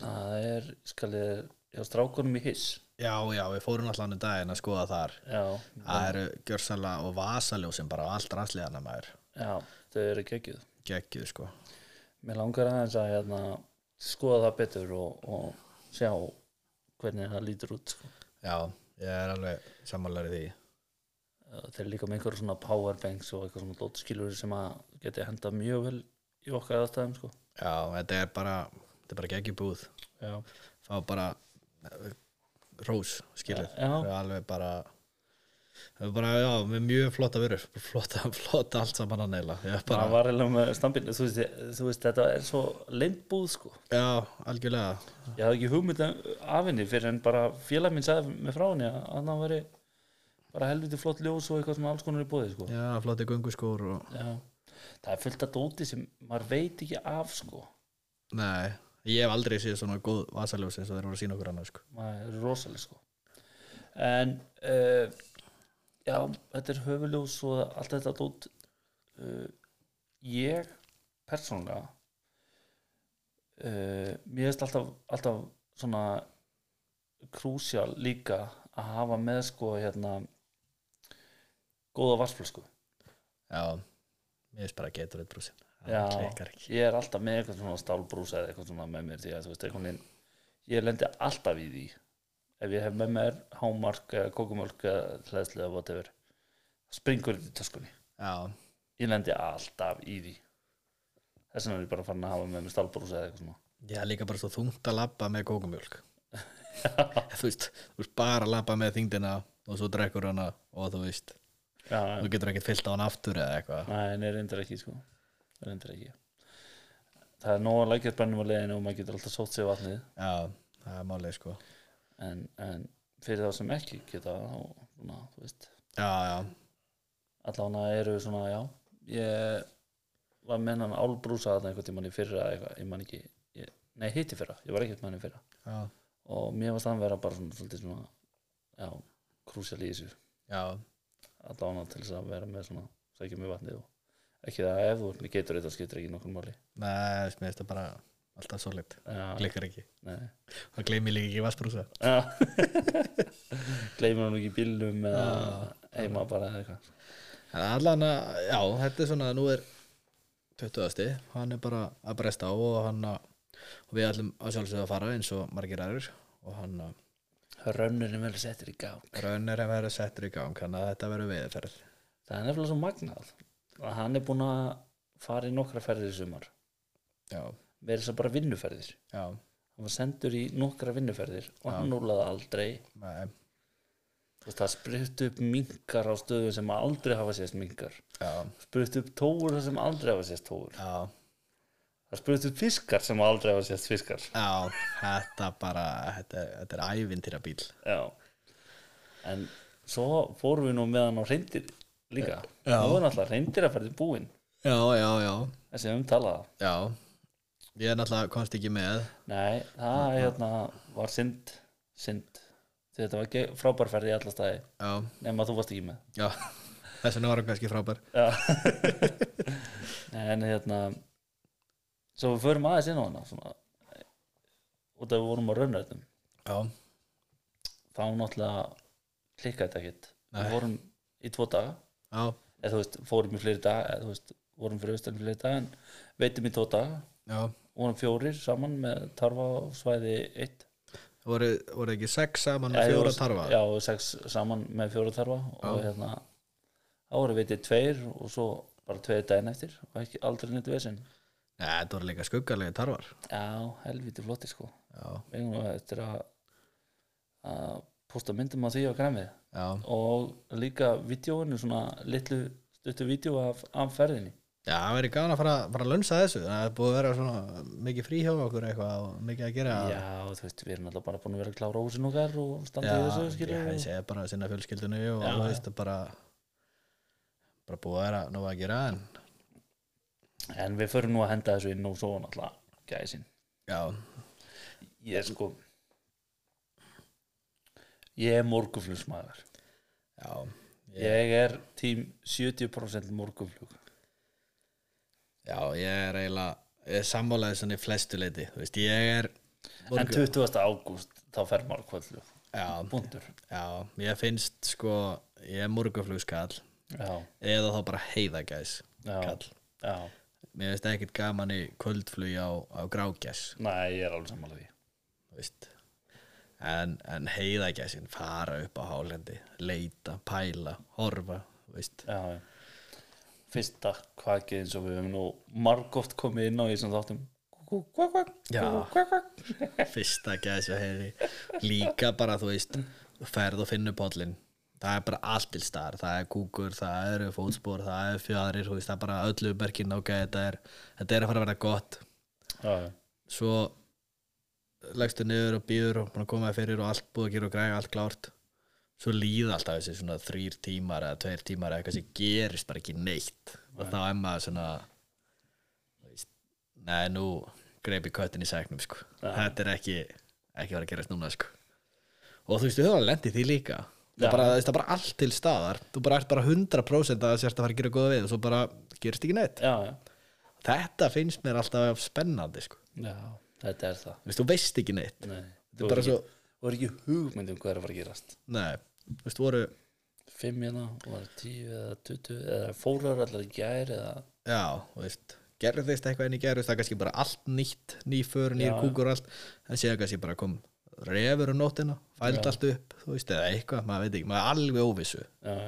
Speaker 2: það er, skal ég hjá strákunum í hiss
Speaker 1: já, já við fórum allan um daginn að skoða þar
Speaker 2: Já,
Speaker 1: það eru gjörsanlega og vasaljósin bara á allt rannsliðana maður
Speaker 2: já, þau eru geggjuð
Speaker 1: geggjuð sko
Speaker 2: Mér langar aðeins að hérna, skoða það betur og, og sjá hvernig það lítur út sko.
Speaker 1: Já, ég er alveg sammálari því
Speaker 2: Þeir eru líka með einhverjum svona powerbanks og eitthvað svona dótskilur sem að geti hendað mjög vel í okkar aðstæðum sko.
Speaker 1: Já, þetta er bara þetta er bara geggjubúð
Speaker 2: Já,
Speaker 1: fá bara eh, rós skilið,
Speaker 2: Já.
Speaker 1: það er alveg bara það er bara, já, með mjög flotta vörur flotta, flotta allt saman að neila ég er bara,
Speaker 2: það var eiginlega með stambinu þú veist, þú veist, þetta er svo lindbúð sko.
Speaker 1: já, algjörlega
Speaker 2: Ég hafði ekki hugmynd af henni fyrir en bara félag minn sagði með frá henni að að það væri bara helviti flott ljós og eitthvað svona alls konar í bóði sko.
Speaker 1: já, flotti gunguskór og,
Speaker 2: Já. Það er fullt að dóti sem maður veit ekki af sko.
Speaker 1: nei, ég hef aldrei séð svona góð vasaljós eins og þeir voru að sína okkur annað sko.
Speaker 2: maður er rosalega sko en uh, já, þetta er höfuljós og allt þetta dót uh, ég persónulega uh, mér finnst alltaf, alltaf svona krúsjál líka að hafa með sko hérna góða varsflösku
Speaker 1: já, mér finnst bara getur eitt brúsin
Speaker 2: Já.
Speaker 1: það klikkar ekki
Speaker 2: ég er alltaf með eitthvað svona stálbrúsa eða eitthvað svona með mér því að þú veist einhvern veginn ég lendi alltaf í því ef ég hef með mér hámark eða kókumölk eða hlæðslu eða whatever springur þetta í töskunni
Speaker 1: já,
Speaker 2: ég lendi alltaf í því þess vegna er ég bara farin að hafa með mér stálbrúsa eða eitthvað svona
Speaker 1: Ég er líka bara svo þungt að labba með kókumjólk Þú veist, þú veist bara að labba með þingdina og svo drekkur hana og þú veist,
Speaker 2: já,
Speaker 1: þú getur ekkert fyllt á hana aftur eða eitthvað
Speaker 2: nei, nei, reyndir ekki sko reyndir ekki það er nóg að lækja spennum á leiðinu og maður getur alltaf sótt sig í vatnið
Speaker 1: Já, það er málið sko
Speaker 2: en, en fyrir þá sem ekki geta og svona, þú veist
Speaker 1: Já, já,
Speaker 2: allavega eru svona, já ég var með hann álbrúsa þarna einhvern tímann í fyrra eða eitthvað, ég man ekki, ég, nei hitti fyrra ég var ekkert með hann í fyrra
Speaker 1: já,
Speaker 2: og mér varst hann vera bara svona, svolítið svona já, krúsjal í þessu
Speaker 1: já,
Speaker 2: allavega til þess að vera með svona sækja með vatnið og ekki það að ef þú ert með getur þetta skiptir ekki nokkur máli
Speaker 1: nei, þú veist, mér finnst það bara alltaf solid,
Speaker 2: já,
Speaker 1: klikkar ekki
Speaker 2: nei
Speaker 1: og gleymi líka ekki vassbrúsa
Speaker 2: gleymur hann ekki í bílnum eða heima bara eða eitthvað
Speaker 1: En allan að, já, þetta er svona, nú er 20. hann er bara að bresta á og hann að, og við ætlum að sjálfsögða að fara eins og margir aður og hann að
Speaker 2: Rönnurinn verður settur í gang
Speaker 1: raunir að vera settur í gang þannig að þetta verður veiðferð
Speaker 2: Það er nefnilega svo magnað að hann er búin að fara í nokkra ferðir í sumar
Speaker 1: já,
Speaker 2: verið þess að bara vinnuferðir
Speaker 1: já,
Speaker 2: hann var sendur í nokkra vinnuferðir og hann núlaði aldrei
Speaker 1: nei,
Speaker 2: Þú veist, það sprytt upp minkar á stöðum sem aldrei hafa sést minkar
Speaker 1: já,
Speaker 2: sprytt upp tóur þar sem aldrei hafa sést tóur
Speaker 1: já
Speaker 2: það sprytt upp fiskar sem aldrei hafa sést fiskar
Speaker 1: já, þetta bara þetta, þetta er ævintýra bíl
Speaker 2: já en svo fórum við nú með hann á reyndir líka,
Speaker 1: Já.
Speaker 2: nú er náttúrulega reyndir að ferði búin
Speaker 1: já, já, já,
Speaker 2: þessi umtalaða
Speaker 1: já ég er náttúrulega komst ekki með
Speaker 2: Nei, það hérna, var synd, synd. Því Þetta var ekki frábærferð í alla staði
Speaker 1: já,
Speaker 2: nema þú varst ekki með
Speaker 1: já, þess vegna var hann kannski frábær
Speaker 2: Nei, En hérna Svo við förum aðeins inn á hana svona, út af við vorum á raunrættum
Speaker 1: já,
Speaker 2: þá náttúrulega klikkaði þetta ekkert
Speaker 1: Nei.
Speaker 2: Við vorum í tvo daga
Speaker 1: já,
Speaker 2: eða þú veist, fórum í fleiri daga eða þú veist, vorum fyrir austan í fleiri daga en veitum í tvo daga
Speaker 1: já
Speaker 2: vorum fjórir saman með tarfa á svæði 1
Speaker 1: voru, voru ekki sex saman og
Speaker 2: Já, ég
Speaker 1: fjóra
Speaker 2: var-
Speaker 1: tarfa
Speaker 2: já, sex saman með fjóra tarfa og hérna þá voru vitið tveir og svo bara tveir daginn eftir og ekki aldrei neitt vesinn
Speaker 1: Nei, þetta voru líka skuggalegi tarfar
Speaker 2: já, helviti flotti sko
Speaker 1: já,
Speaker 2: við erum eftir að, að posta myndum á því á græmið
Speaker 1: já,
Speaker 2: og líka vídjóinu svona litlu stuttu vídjó af, af ferðinni
Speaker 1: já, það verið gaman að fara, fara að lunsa þessu það er búið að vera svona mikið frí hjá okkur eitthvað og mikið að gera
Speaker 2: já, þú veist, við erum alltaf bara búin að vera að klára húsin okkar og standa í þessu
Speaker 1: ég
Speaker 2: skilur
Speaker 1: hefði segja bara að sinna fjölskyldinu og
Speaker 2: Já,
Speaker 1: þú veist að bara bara búið að vera nú að gera en
Speaker 2: en við förum nú að henda þessu inn og svo náttúrulega gæsin
Speaker 1: já,
Speaker 2: Ég er sko Ég er morgunflugsmaður
Speaker 1: já,
Speaker 2: Ég er tím 70% morgunflug
Speaker 1: já ég er eiginlega ég er sammálaðið svona í flestu leiti þú veist, ég er
Speaker 2: En 20. ágúst þá fer maður kvöldflug
Speaker 1: já,
Speaker 2: Búndur
Speaker 1: já, ég finnst sko ég er morguflugskall
Speaker 2: Já,
Speaker 1: eða þá bara heiðagæs
Speaker 2: já,
Speaker 1: kall
Speaker 2: já
Speaker 1: mér finnst ekkert gaman í kvöldflugi á, á grágæs
Speaker 2: Nei, ég er alveg sammála því
Speaker 1: þú veist en, en heiðagæsin fara upp á hálendi leita, pæla, horfa þú veist,
Speaker 2: Já, já Fyrsta kvakið eins og við höfum nú margóft komið inn á því sem þáttum Kúkú, kvak, kvak,
Speaker 1: Já.
Speaker 2: kúkú, kvak, kvak
Speaker 1: fyrsta gæsi heiði, líka bara þú veist þú ferð og finnur pollin það er bara allt til staðar, það er kúkur það eru fótspor, það eru fjarir þú veist, það er bara öllu bergin ok, þetta er þetta er að fara að vera gott
Speaker 2: Já, já,
Speaker 1: svo leggstu niður og býður og búin að koma þér fyrir og allt búið að gera og græja allt klárt svo líða alltaf þessi svona þrýr tímar eða tveir tímar eða eitthvað sem gerist bara ekki neitt og þá er maður svona þú veist, nei nú greipi köttin í sæknum sko þetta er ekki, ekki var að gerast núna sko og þú veist, þú hefur alveg lendið því líka það er bara, þú veist, það er bara allt til staðar þú bara ert bara 100% að það sérst að fara að gera góða við og svo bara gerist ekki neitt
Speaker 2: já, já,
Speaker 1: þetta finnst mér alltaf spennandi sko
Speaker 2: já Þetta er það
Speaker 1: Þú veist, þú veist ekki neitt
Speaker 2: Nei,
Speaker 1: Þetta er bara svo,
Speaker 2: Þú er ekki hugmynd um hvað er að fara að gerast
Speaker 1: nei, þú veist, voru
Speaker 2: fimm hérna og var tíu eða tuttu eða fórar allar í gær eða
Speaker 1: Já, þú veist, gerðist eitthvað enn í gerðist það er kannski bara allt nýtt, nýför, nýr kúkur og allt, en séða kannski bara kom refur um nóttina, fælt allt upp þú veist, eða eitthvað, maður veit ekki, maður er alveg óvissu
Speaker 2: já,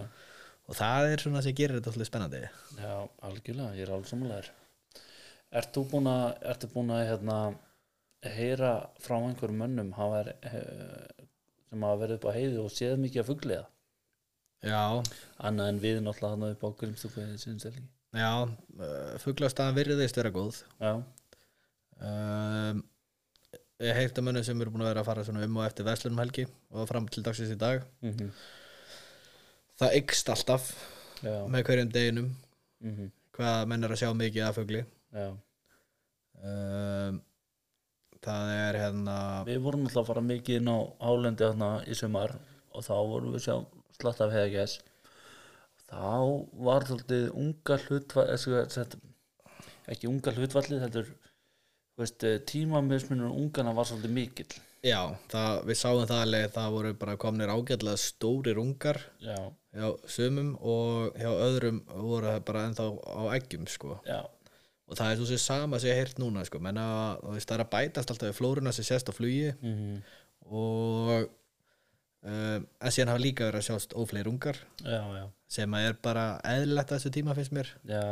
Speaker 1: og það er svona sem gerir þetta alltaf spennandi
Speaker 2: já, algjörlega, ég er alveg samanlegar Ert þú búin að ertu búin að hérna heyra frá einhverjum mönnum hafa er, eh, sem hafa verið upp á heiði og séð mikið að fugliða
Speaker 1: Já,
Speaker 2: annað en við náttúrulega hann upp á grimstúku sinns elgi
Speaker 1: já, uh, fuglastaðan virðist vera góð
Speaker 2: Já,
Speaker 1: um, Ég heilt að mönnum sem eru búin að vera að fara svona um og eftir verslunum helgi og fram til dagsins í dag
Speaker 2: mm
Speaker 1: Það yggst alltaf
Speaker 2: já,
Speaker 1: með hverjum deginum
Speaker 2: mm
Speaker 1: hvað menn er að sjá mikið af fugli
Speaker 2: já
Speaker 1: um, það er hérna
Speaker 2: Við vorum náttúrulega að fara mikið inn á hálendi þarna í sumar og þá vorum við að sjá slatt af heiðagæs þá var svolítið unga eh, hlutvallið ekki unga hlutvallið þetta er þú veist, tímamismunum ungana var svolítið mikill
Speaker 1: já, það, við sáum það alveg það voru bara komnir ágætlega stórir ungar
Speaker 2: já,
Speaker 1: hjá sumum og hjá öðrum voru það bara ennþá á eggjum sko
Speaker 2: já,
Speaker 1: og og það er svo sem sama sem ég heyrt núna sko, menna, veist, það er að bætast alltaf við flóruna sem sést á flugi
Speaker 2: Mhm.
Speaker 1: og um, en síðan hafa líka verið að sjást ófleir ungar
Speaker 2: já, já,
Speaker 1: sem að er bara eðlilegt að þessu tíma finnst mér
Speaker 2: já,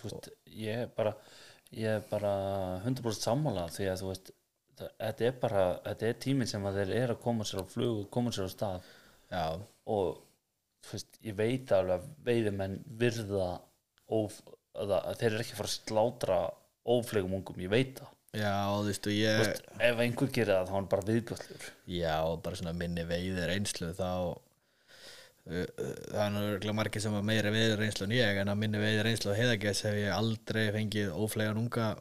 Speaker 2: þú veist ég er bara, ég er bara 100% sammála því að þú veist það- þetta er bara, þetta er tíminn sem að þeir eru að koma sér á flug og koma sér á stað
Speaker 1: já,
Speaker 2: og þú veist, ég veit alveg að veiðimenn virða óf, að, að þeir eru ekki að fara að slátra óflegum ungum, ég veit það
Speaker 1: já, þú veist og ég
Speaker 2: Þú veist, ef einhver gerir það, þá er hann bara viðbjöllur
Speaker 1: já, og bara svona minni veiðir einslu þá uh, uh, það er náttúrulega margir sem var meira veiðir einslu en ég, en að minni veiðir einslu heiðagess hef ég aldrei fengið óflegan unga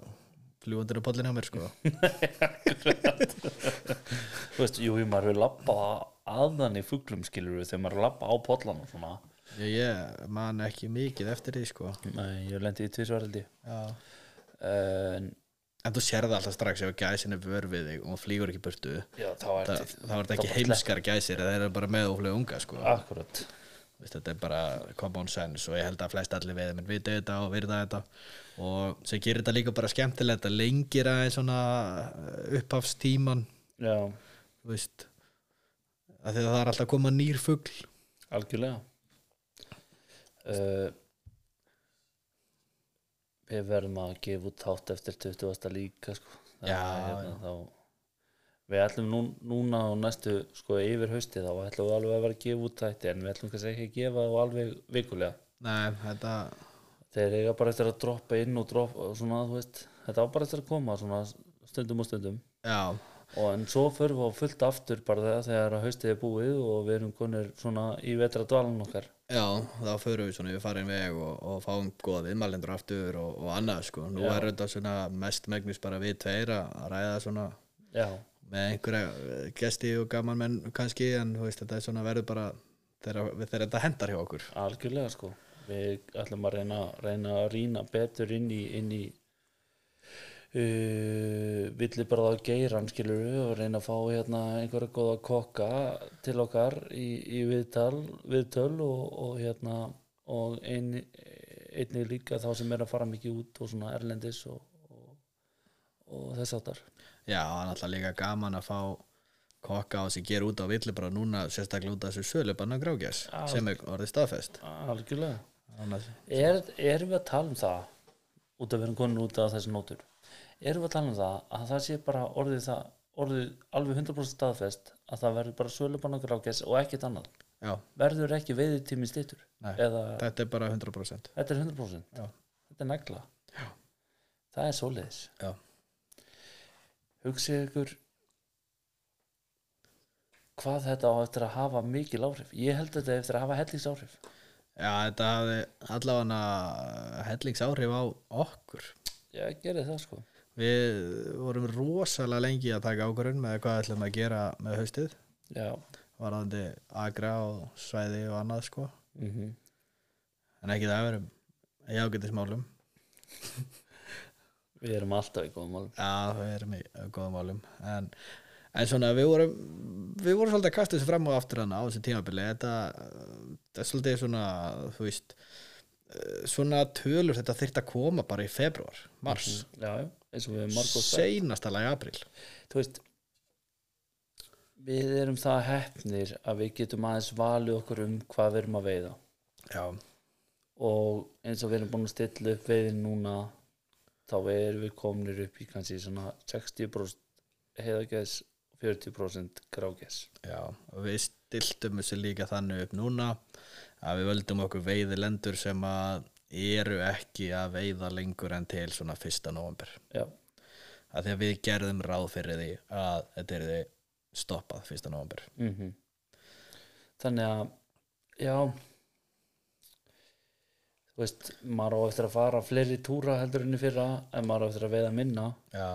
Speaker 1: fljúandur á pollinu á mér sko
Speaker 2: þú veist, jú, jú, maður hefur labba aðan í fuglum skilur við þegar maður er að labba á pollan og svona
Speaker 1: ég, ég man ekki mikið eftir því sko
Speaker 2: Nei, ég lendi í tvisvaraldi
Speaker 1: já
Speaker 2: en
Speaker 1: En þú sér það alltaf strax ef gæsin er vör við þig og hún flýgur ekki burtu
Speaker 2: já, þá er
Speaker 1: það, það var þetta ekki heimskar gæsir það eru bara með óflöð unga sko.
Speaker 2: akkurat
Speaker 1: Veist, þetta er bara common sense og ég held að flest allir veðmenn vita þetta og virða þetta og sem gerir þetta líka bara skemmtilegt að lengir aðeins svona eh, upphafstíman
Speaker 2: já,
Speaker 1: þú veist að því að það er alltaf að koma nýr fugl
Speaker 2: algjörlega uh, við verðum að gefa út þátt eftir 20. líka sko. Það
Speaker 1: Já,
Speaker 2: er Þá, við ætlum nú, núna og næstu sko yfir haustið þá ætlum við alveg að vera að gefa út þætti en við ætlum kannski ekki að gefa þá alveg vikulega
Speaker 1: Nei, þetta
Speaker 2: þeir eiga bara eftir að droppa inn og droppa og svona, þú veist, þetta á bara eftir að koma svona stundum og stundum
Speaker 1: Já,
Speaker 2: og en svo förum við á fullt aftur bara þegar, þegar að haustið er búið og við erum konir svona í vetra dvalan okkar
Speaker 1: já, þá förum við svona við farin veg og, og fáum góða viðmælendur aftur og, og annað sko Nú
Speaker 2: Já.
Speaker 1: er þetta svona mest megnus bara við tveir að að ræða svona
Speaker 2: já,
Speaker 1: með einhverja eh, gesti og gaman menn kannski en þú veist þetta er svona verður bara þegar, þegar þetta hendar hjá okkur
Speaker 2: Algjörlega sko Við ætlum að reyna, reyna að rýna betur inn í, inn í e, uh, villi bara að geira hann skilur við og reyna að fá hérna einhverja góða kokka til okkar í, í viðtal, viðtöl og, og hérna og ein, einnig líka þá sem er að fara mikið út og svona erlendis og, og, og þess áttar
Speaker 1: Já, það er náttúrulega líka gaman að fá kokka á sem ger út á villu bara núna sérstaklega út af þessu sölu bara grágjas sem er orðið staðfest
Speaker 2: Algjörlega
Speaker 1: Annars,
Speaker 2: Er, erum við að tala um það út af verðum konin út af þessi nótur erum við að tala um það að það sé bara orðið, það, orðið alveg 100% staðfest að það verður bara sölubann okkur ágæs og ekkert annað
Speaker 1: Já,
Speaker 2: verður ekki veiðið tími stýttur
Speaker 1: Nei.
Speaker 2: eða
Speaker 1: þetta er bara 100%
Speaker 2: þetta er 100%
Speaker 1: Já.
Speaker 2: þetta er negla Já. það er svoleiðis
Speaker 1: Já,
Speaker 2: hugsið ykkur hvað þetta á eftir að hafa mikil áhrif ég held þetta eftir að hafa hellings áhrif
Speaker 1: Já þetta hafði allavega hellingsáhrif á okkur
Speaker 2: ég gerði það sko
Speaker 1: Við vorum rosalega lengi að taka ákvörðun með hvað ætlum að gera með haustið
Speaker 2: Já.
Speaker 1: varðandi agra og svæði og annað sko
Speaker 2: Mm -hmm.
Speaker 1: en ekki það verðum í ágætismálum
Speaker 2: við erum alltaf í góðum málum
Speaker 1: já, við erum í góðum málum en, en svona við vorum við vorum svolítið að kasta þessu fram og aftur hana á þessu tímabili þetta, þetta er svolítið svona þú veist eh, svona tölur þetta þyrfti að koma bara í februar, mars mm
Speaker 2: já, já, eins og við erum Mhm. margóð sagt
Speaker 1: seinasta lagi april
Speaker 2: þú veist við erum það hefnir að við getum aðeins valið okkur um hvað við erum að veiða
Speaker 1: já,
Speaker 2: og eins og við erum búin að stilla upp veiðin núna þá erum við komnir upp í kannski svona 60% heiðagæs 40% grágæs
Speaker 1: já, og við stiltum þessu líka þannig upp núna að við völdum okkur veiðilendur sem að eru ekki að veiða lengur en til svona 1. november
Speaker 2: já,
Speaker 1: að því að við gerðum ráð fyrir því að þetta er því stoppað 1. november
Speaker 2: mhm þannig að já þú veist, maður á eftir að fara fleiri túra heldur enn í fyrra en maður á eftir að veiða minna
Speaker 1: já,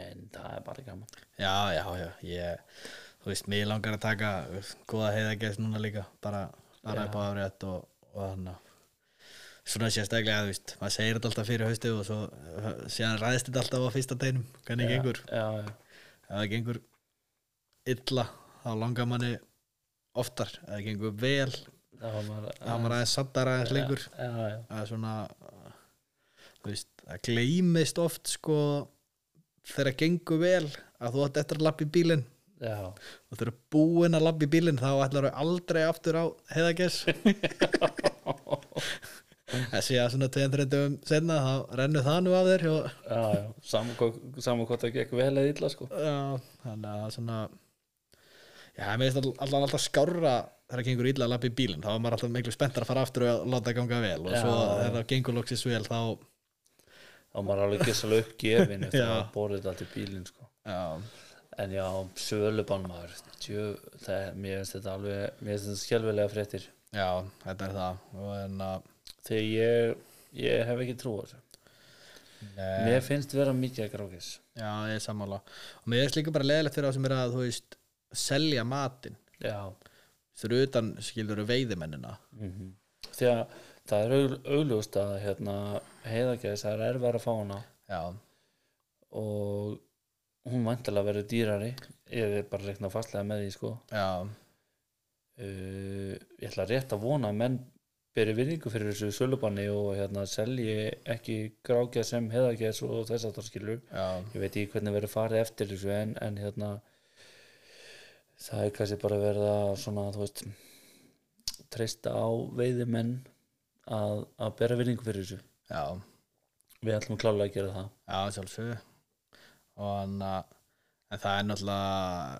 Speaker 2: en það er bara gaman
Speaker 1: já, já, já ég, þú veist, mér langar að taka góða heiðagess núna líka bara, bara upp á afrétt og, og þannig að- svona sérstaklega, þú veist maður segir þetta alltaf fyrir haustið og svo uh, síðan ræðist þetta alltaf á fyrsta deinum hvernig
Speaker 2: Já,
Speaker 1: gengur,
Speaker 2: já, já,
Speaker 1: ef það gengur illa, þá langar manni oftar, ef það gengur vel
Speaker 2: það var maður
Speaker 1: þá er maður aðeins sattar aðeins lengur
Speaker 2: já, já,
Speaker 1: að svona þú veist, það gleymist oft sko þegar gengur vel að þú átt eftir að lappa í bílinn
Speaker 2: já,
Speaker 1: og þegar þú ert búinn að lappa í bílinn þá ætlar þú aldrei aftur á heiðagess þessi að svona 2-3 dögum senna þá rennur það nú af þér og
Speaker 2: já, já. Saman, hvað- saman hvort það gekk vel eða illa sko
Speaker 1: Já, þannig að svona Já, mér finnst alltaf, alltaf skárra þegar það gengur illa að lappa í bílinn þá er maður alltaf miklu spenntar að fara aftur og láta það ganga vel og
Speaker 2: Já,
Speaker 1: svo
Speaker 2: já.
Speaker 1: þegar það gengur loksins vel þá
Speaker 2: þá maður alveg gessalega uppgefin eftir
Speaker 1: Já.
Speaker 2: að borðið þetta til bílinn sko.
Speaker 1: Já,
Speaker 2: en já, sölubann maður tjö, það, mér finnst þetta alveg mér finnst þetta skelfilega fréttir
Speaker 1: já þetta er það og hérna, en að
Speaker 2: þegar ég, ég hef ekki trú á þessu
Speaker 1: Nei,
Speaker 2: mér finnst vera mikið að grákis
Speaker 1: Já, ég er sammála og mér finnst líka bara leðilegt fyrir á sem er að þú veist selja matinn
Speaker 2: já,
Speaker 1: þurr utan skilur veiðimennina
Speaker 2: mm þegar það er augl- augljóst að hérna, heiðagæðis það er erfæra að fá hana
Speaker 1: Já,
Speaker 2: og hún vantilega verður dýrari ég er bara að reikna fastlega með því sko.
Speaker 1: já,
Speaker 2: uh, ég ætla rétt að vona að menn beri virðingu fyrir þessu sölubanni og hérna, selji ekki grákja sem heðagæðs og þess að það skilur
Speaker 1: já
Speaker 2: ég veit ekki hvernig verður farið eftir þessu en, en hérna það er kannski bara verið að svona þú veist treysta á veiðimenn að, að bera virðingu fyrir þessu
Speaker 1: Já,
Speaker 2: við ætlum klálega að gera það
Speaker 1: Já, sjálfsögðu og hann að en það er náttúrulega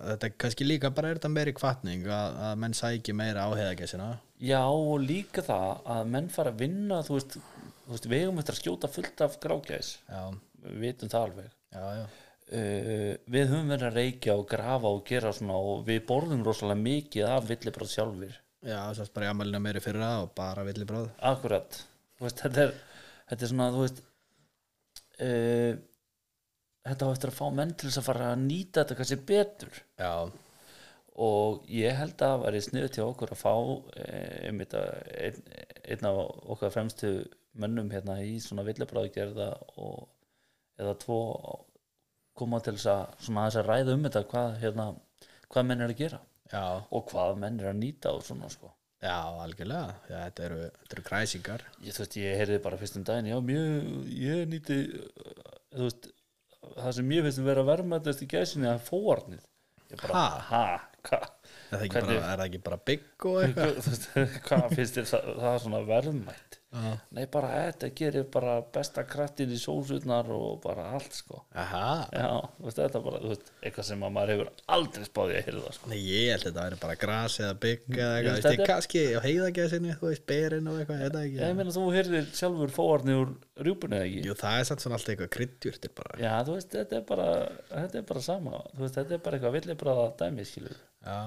Speaker 1: þetta er kannski líka bara er þetta meiri kvartning að, að menn sæki meira á heiðagessina
Speaker 2: já og líka það að menn fara að vinna þú veist, þú veist við eigum eftir að skjóta fullt af grákjæs
Speaker 1: já,
Speaker 2: við vitum það alveg
Speaker 1: já, já,
Speaker 2: uh, við höfum verið að reykja og grafa og gera svona og við borðum rosalega mikið af villibráð sjálfur
Speaker 1: já, svo bara í ammælinu meiri fyrra og bara villi bráð
Speaker 2: akkurat Þú veist, þetta, er, þetta er svona þú veist uh, þetta á eftir að fá menn til þess að fara að nýta þetta kannski betur
Speaker 1: já,
Speaker 2: og ég held að það væri sniðu til okkur að fá eh, einmitt að einn, einn af okkar fremstu mönnum hérna í svona villibráðgerða og eða tvo koma til þess að svona þess að ræða um þetta hvað, hérna, hvað menn er að gera
Speaker 1: já,
Speaker 2: og hvað menn er að nýta og svona sko
Speaker 1: já, algjörlega já, þetta eru, þetta eru kræsingar
Speaker 2: ég, þú veist, ég heyrði bara fyrst um daginn já, mjög, ég nýti eh, þú veist, það sem ég finnst um vera verðmættast í gæsinni að fóarnið ég bara,
Speaker 1: Ha?
Speaker 2: ha, hva
Speaker 1: er það ekki,
Speaker 2: Hvernig-
Speaker 1: bara, er það ekki bara bygg og eitthvað
Speaker 2: þú veist, hvað finnst þér það, það er svona verðmætt
Speaker 1: Já.
Speaker 2: nei, bara þetta gerir bara besta krattin í sósutnar og bara allt sko
Speaker 1: aha,
Speaker 2: já, þú veist, þetta er bara, þú veist, eitthvað sem að maður hefur aldrei spáði að heyrða sko.
Speaker 1: Nei, ég held þetta væri bara gras eða bygg eða
Speaker 2: Mm, Ég
Speaker 1: eitthvað,
Speaker 2: veist,
Speaker 1: veist ég
Speaker 2: þetta er-
Speaker 1: kannski á heiðagessinu, þú veist, berinn og eitthvað, þetta ekki
Speaker 2: ég meina, þú heyrðir sjálfur fóarnið úr rjúpunni eða ekki
Speaker 1: Jú, það er samt svona alltaf eitthvað kryddjurtir bara
Speaker 2: Já, þú veist, þetta er bara, þetta er bara sama þú veist, þetta er bara eitthvað villibráða dæmi skilur
Speaker 1: Já,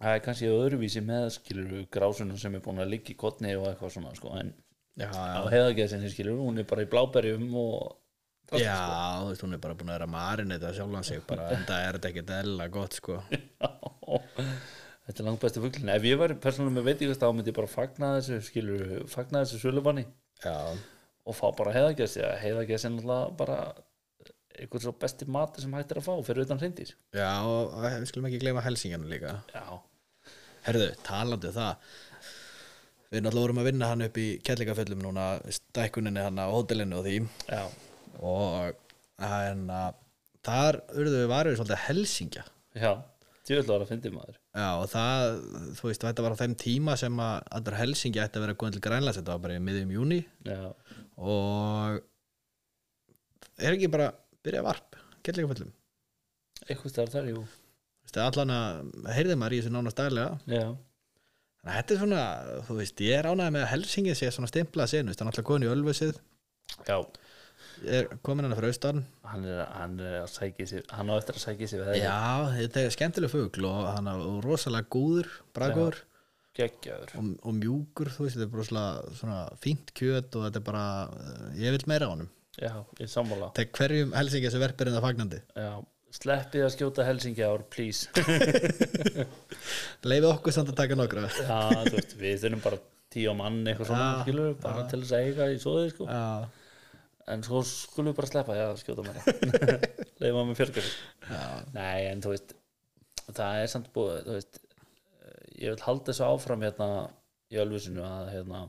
Speaker 2: það er kannski öðruvísi með skilur grásunum sem er búin að liggja í kotni og eitthvað svona sko, en
Speaker 1: já, já.
Speaker 2: á heiðageðsinni skilur hún er bara í bláberjum og sko.
Speaker 1: Já, þú veist, hún er bara búin að vera marin þetta sjálfan sig bara, en það er þetta ekkert eðla gott, sko.
Speaker 2: þetta er langt besti fuglin ef ég væri persónum með veit ég veist þá myndi ég bara fagna þessu skilur, fagna þessu sölubanni
Speaker 1: Já,
Speaker 2: og fá bara heiðageðsi að heiðageðsi er náttúrulega bara eitthvað svo besti mati sem hægt er að fá fyrir utan hreindýr
Speaker 1: já, og eh, við skulum ekki gleyma helsinginu líka.
Speaker 2: já,
Speaker 1: Herðu, talandi um það, við náttúrulega vorum að vinna hann upp í kellingaföllum núna, stækkuninni hann á hótelinu og því,
Speaker 2: já,
Speaker 1: og en, að, þar urðu við varum við svolítið helsingja.
Speaker 2: já djöðlega var að fyndi maður
Speaker 1: Já, og það, þú veist, þetta var á þeim tíma sem að allar helsingja ætti að vera góðin til grænlands, þetta var bara í miðjum júni.
Speaker 2: já,
Speaker 1: og er ekki bara byrja varp kellingaföllum
Speaker 2: eitthvað stær þar, jú
Speaker 1: Veistu, allan að heyrði maður í þessu nánast daglega
Speaker 2: já,
Speaker 1: þannig að þetta er svona, þú veist, ég er ánægð með að Helsingin sé svona stimplað senu, þannig alltaf komin í Ölfusið
Speaker 2: já
Speaker 1: er komin hann fyrir austan
Speaker 2: hann er, hann er að sækja sér hann á eftir að sækja sér við það
Speaker 1: já, þetta er skemmtileg fugl og hann er rosalega gúður, bragur
Speaker 2: geggjaður
Speaker 1: og, og mjúkur, þú veist, þetta er rosalega svona fínt kjöt og þetta er bara eh, ég vil meira á honum,
Speaker 2: já, ég sammála
Speaker 1: þegar hverjum Helsingin sem verpir en það fagnandi,
Speaker 2: já, sleppið að skjóta Helsingi ár, please
Speaker 1: leiði okkur samt að taka nokkra
Speaker 2: já, þú veist, við þurfum bara tíu á mann eitthvað svona,
Speaker 1: Já,
Speaker 2: skilur við, bara til þess að eiga í svoðið, sko
Speaker 1: já,
Speaker 2: en svo skulum við bara sleppa, já, skjóta mér leifa með fjörgur
Speaker 1: já,
Speaker 2: nei, en þú veist það er samt búið, þú veist eh, ég vil halda þessu áfram hérna í Ölfusinu að hérna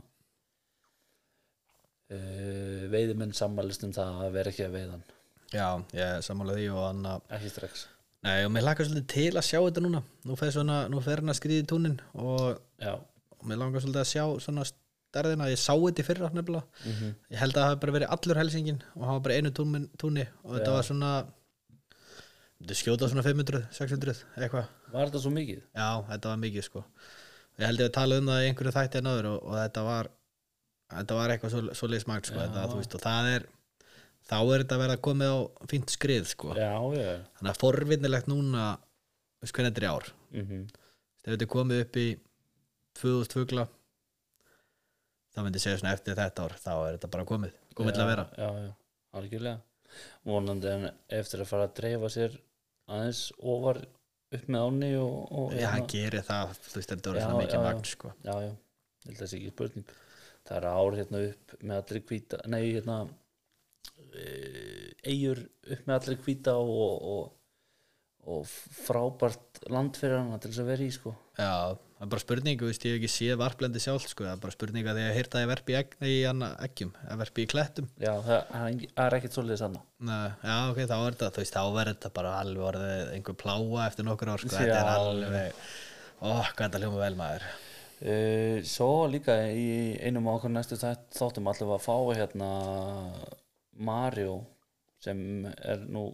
Speaker 2: uh, veiðimenn sammælist um það að vera ekki að veiðan
Speaker 1: já, ég sammála því og hann að
Speaker 2: ekki strax
Speaker 1: Nei, og mér lakar svolítið til að sjá þetta núna Nú fer, svona, nú fer hérna hann að skrýði túnin og,
Speaker 2: já,
Speaker 1: og mér langar svolítið að sjá svona stærðina, ég sá þetta í fyrra nefnilega Ég held að það hafi bara verið allur helsingin og hafa bara einu túnin, túni og þetta var svona Þetta skjóta svona 500, 600, eitthvað
Speaker 2: var þetta svo mikið?
Speaker 1: Já, þetta var mikið sko Ég held ég að tala um það í einhverju þætti en áður og, og þetta var þetta var eitthvað svo, svo leismagt sko þetta, þú veist, og það er þá er þetta að vera komið á fínt skrið sko
Speaker 2: já, já,
Speaker 1: þannig að forvinnilegt núna þú veist hvernig þetta er í ár
Speaker 2: mm -hmm.
Speaker 1: þegar þetta er komið upp í 2000 fugla þá myndi ég segja svona eftir þetta ár þá er þetta bara komið, komið til að vera
Speaker 2: já, já, algjörlega vonandi en eftir að fara að dreifa sér aðeins ofar upp með áni og, og
Speaker 1: Já, hann gerir það, þú veist, þetta voru
Speaker 2: Já,
Speaker 1: svona mikið
Speaker 2: já, já.
Speaker 1: magn sko.
Speaker 2: já, já, ég held að það sé ekki spurning það er ár hérna upp með allir hvíta nei, hérna eh, eigur upp með allir hvíta og, og, og frábært land fyrir hana til þess að vera í sko
Speaker 1: Já, það er bara spurning, þú veist, ég hef ekki séð varplendi sjálf, sko, það er bara spurning að því að heyrta að ég verpi í, egg, nei, í anna, eggjum, að verpi í klettum
Speaker 2: já, það, það er engi- það er ekkert svolítið sann
Speaker 1: Nei, já, ok, þá er þetta, þú veist, þá verður þetta bara alveg orðið einhver pláa eftir nokkur ár, sko, þetta er
Speaker 2: Já.
Speaker 1: alveg, ó, hvað þetta hljóma vel maður
Speaker 2: Uh, svo líka í einum af okkur næstu þætt, þáttum allir að fá hérna Mario sem er nú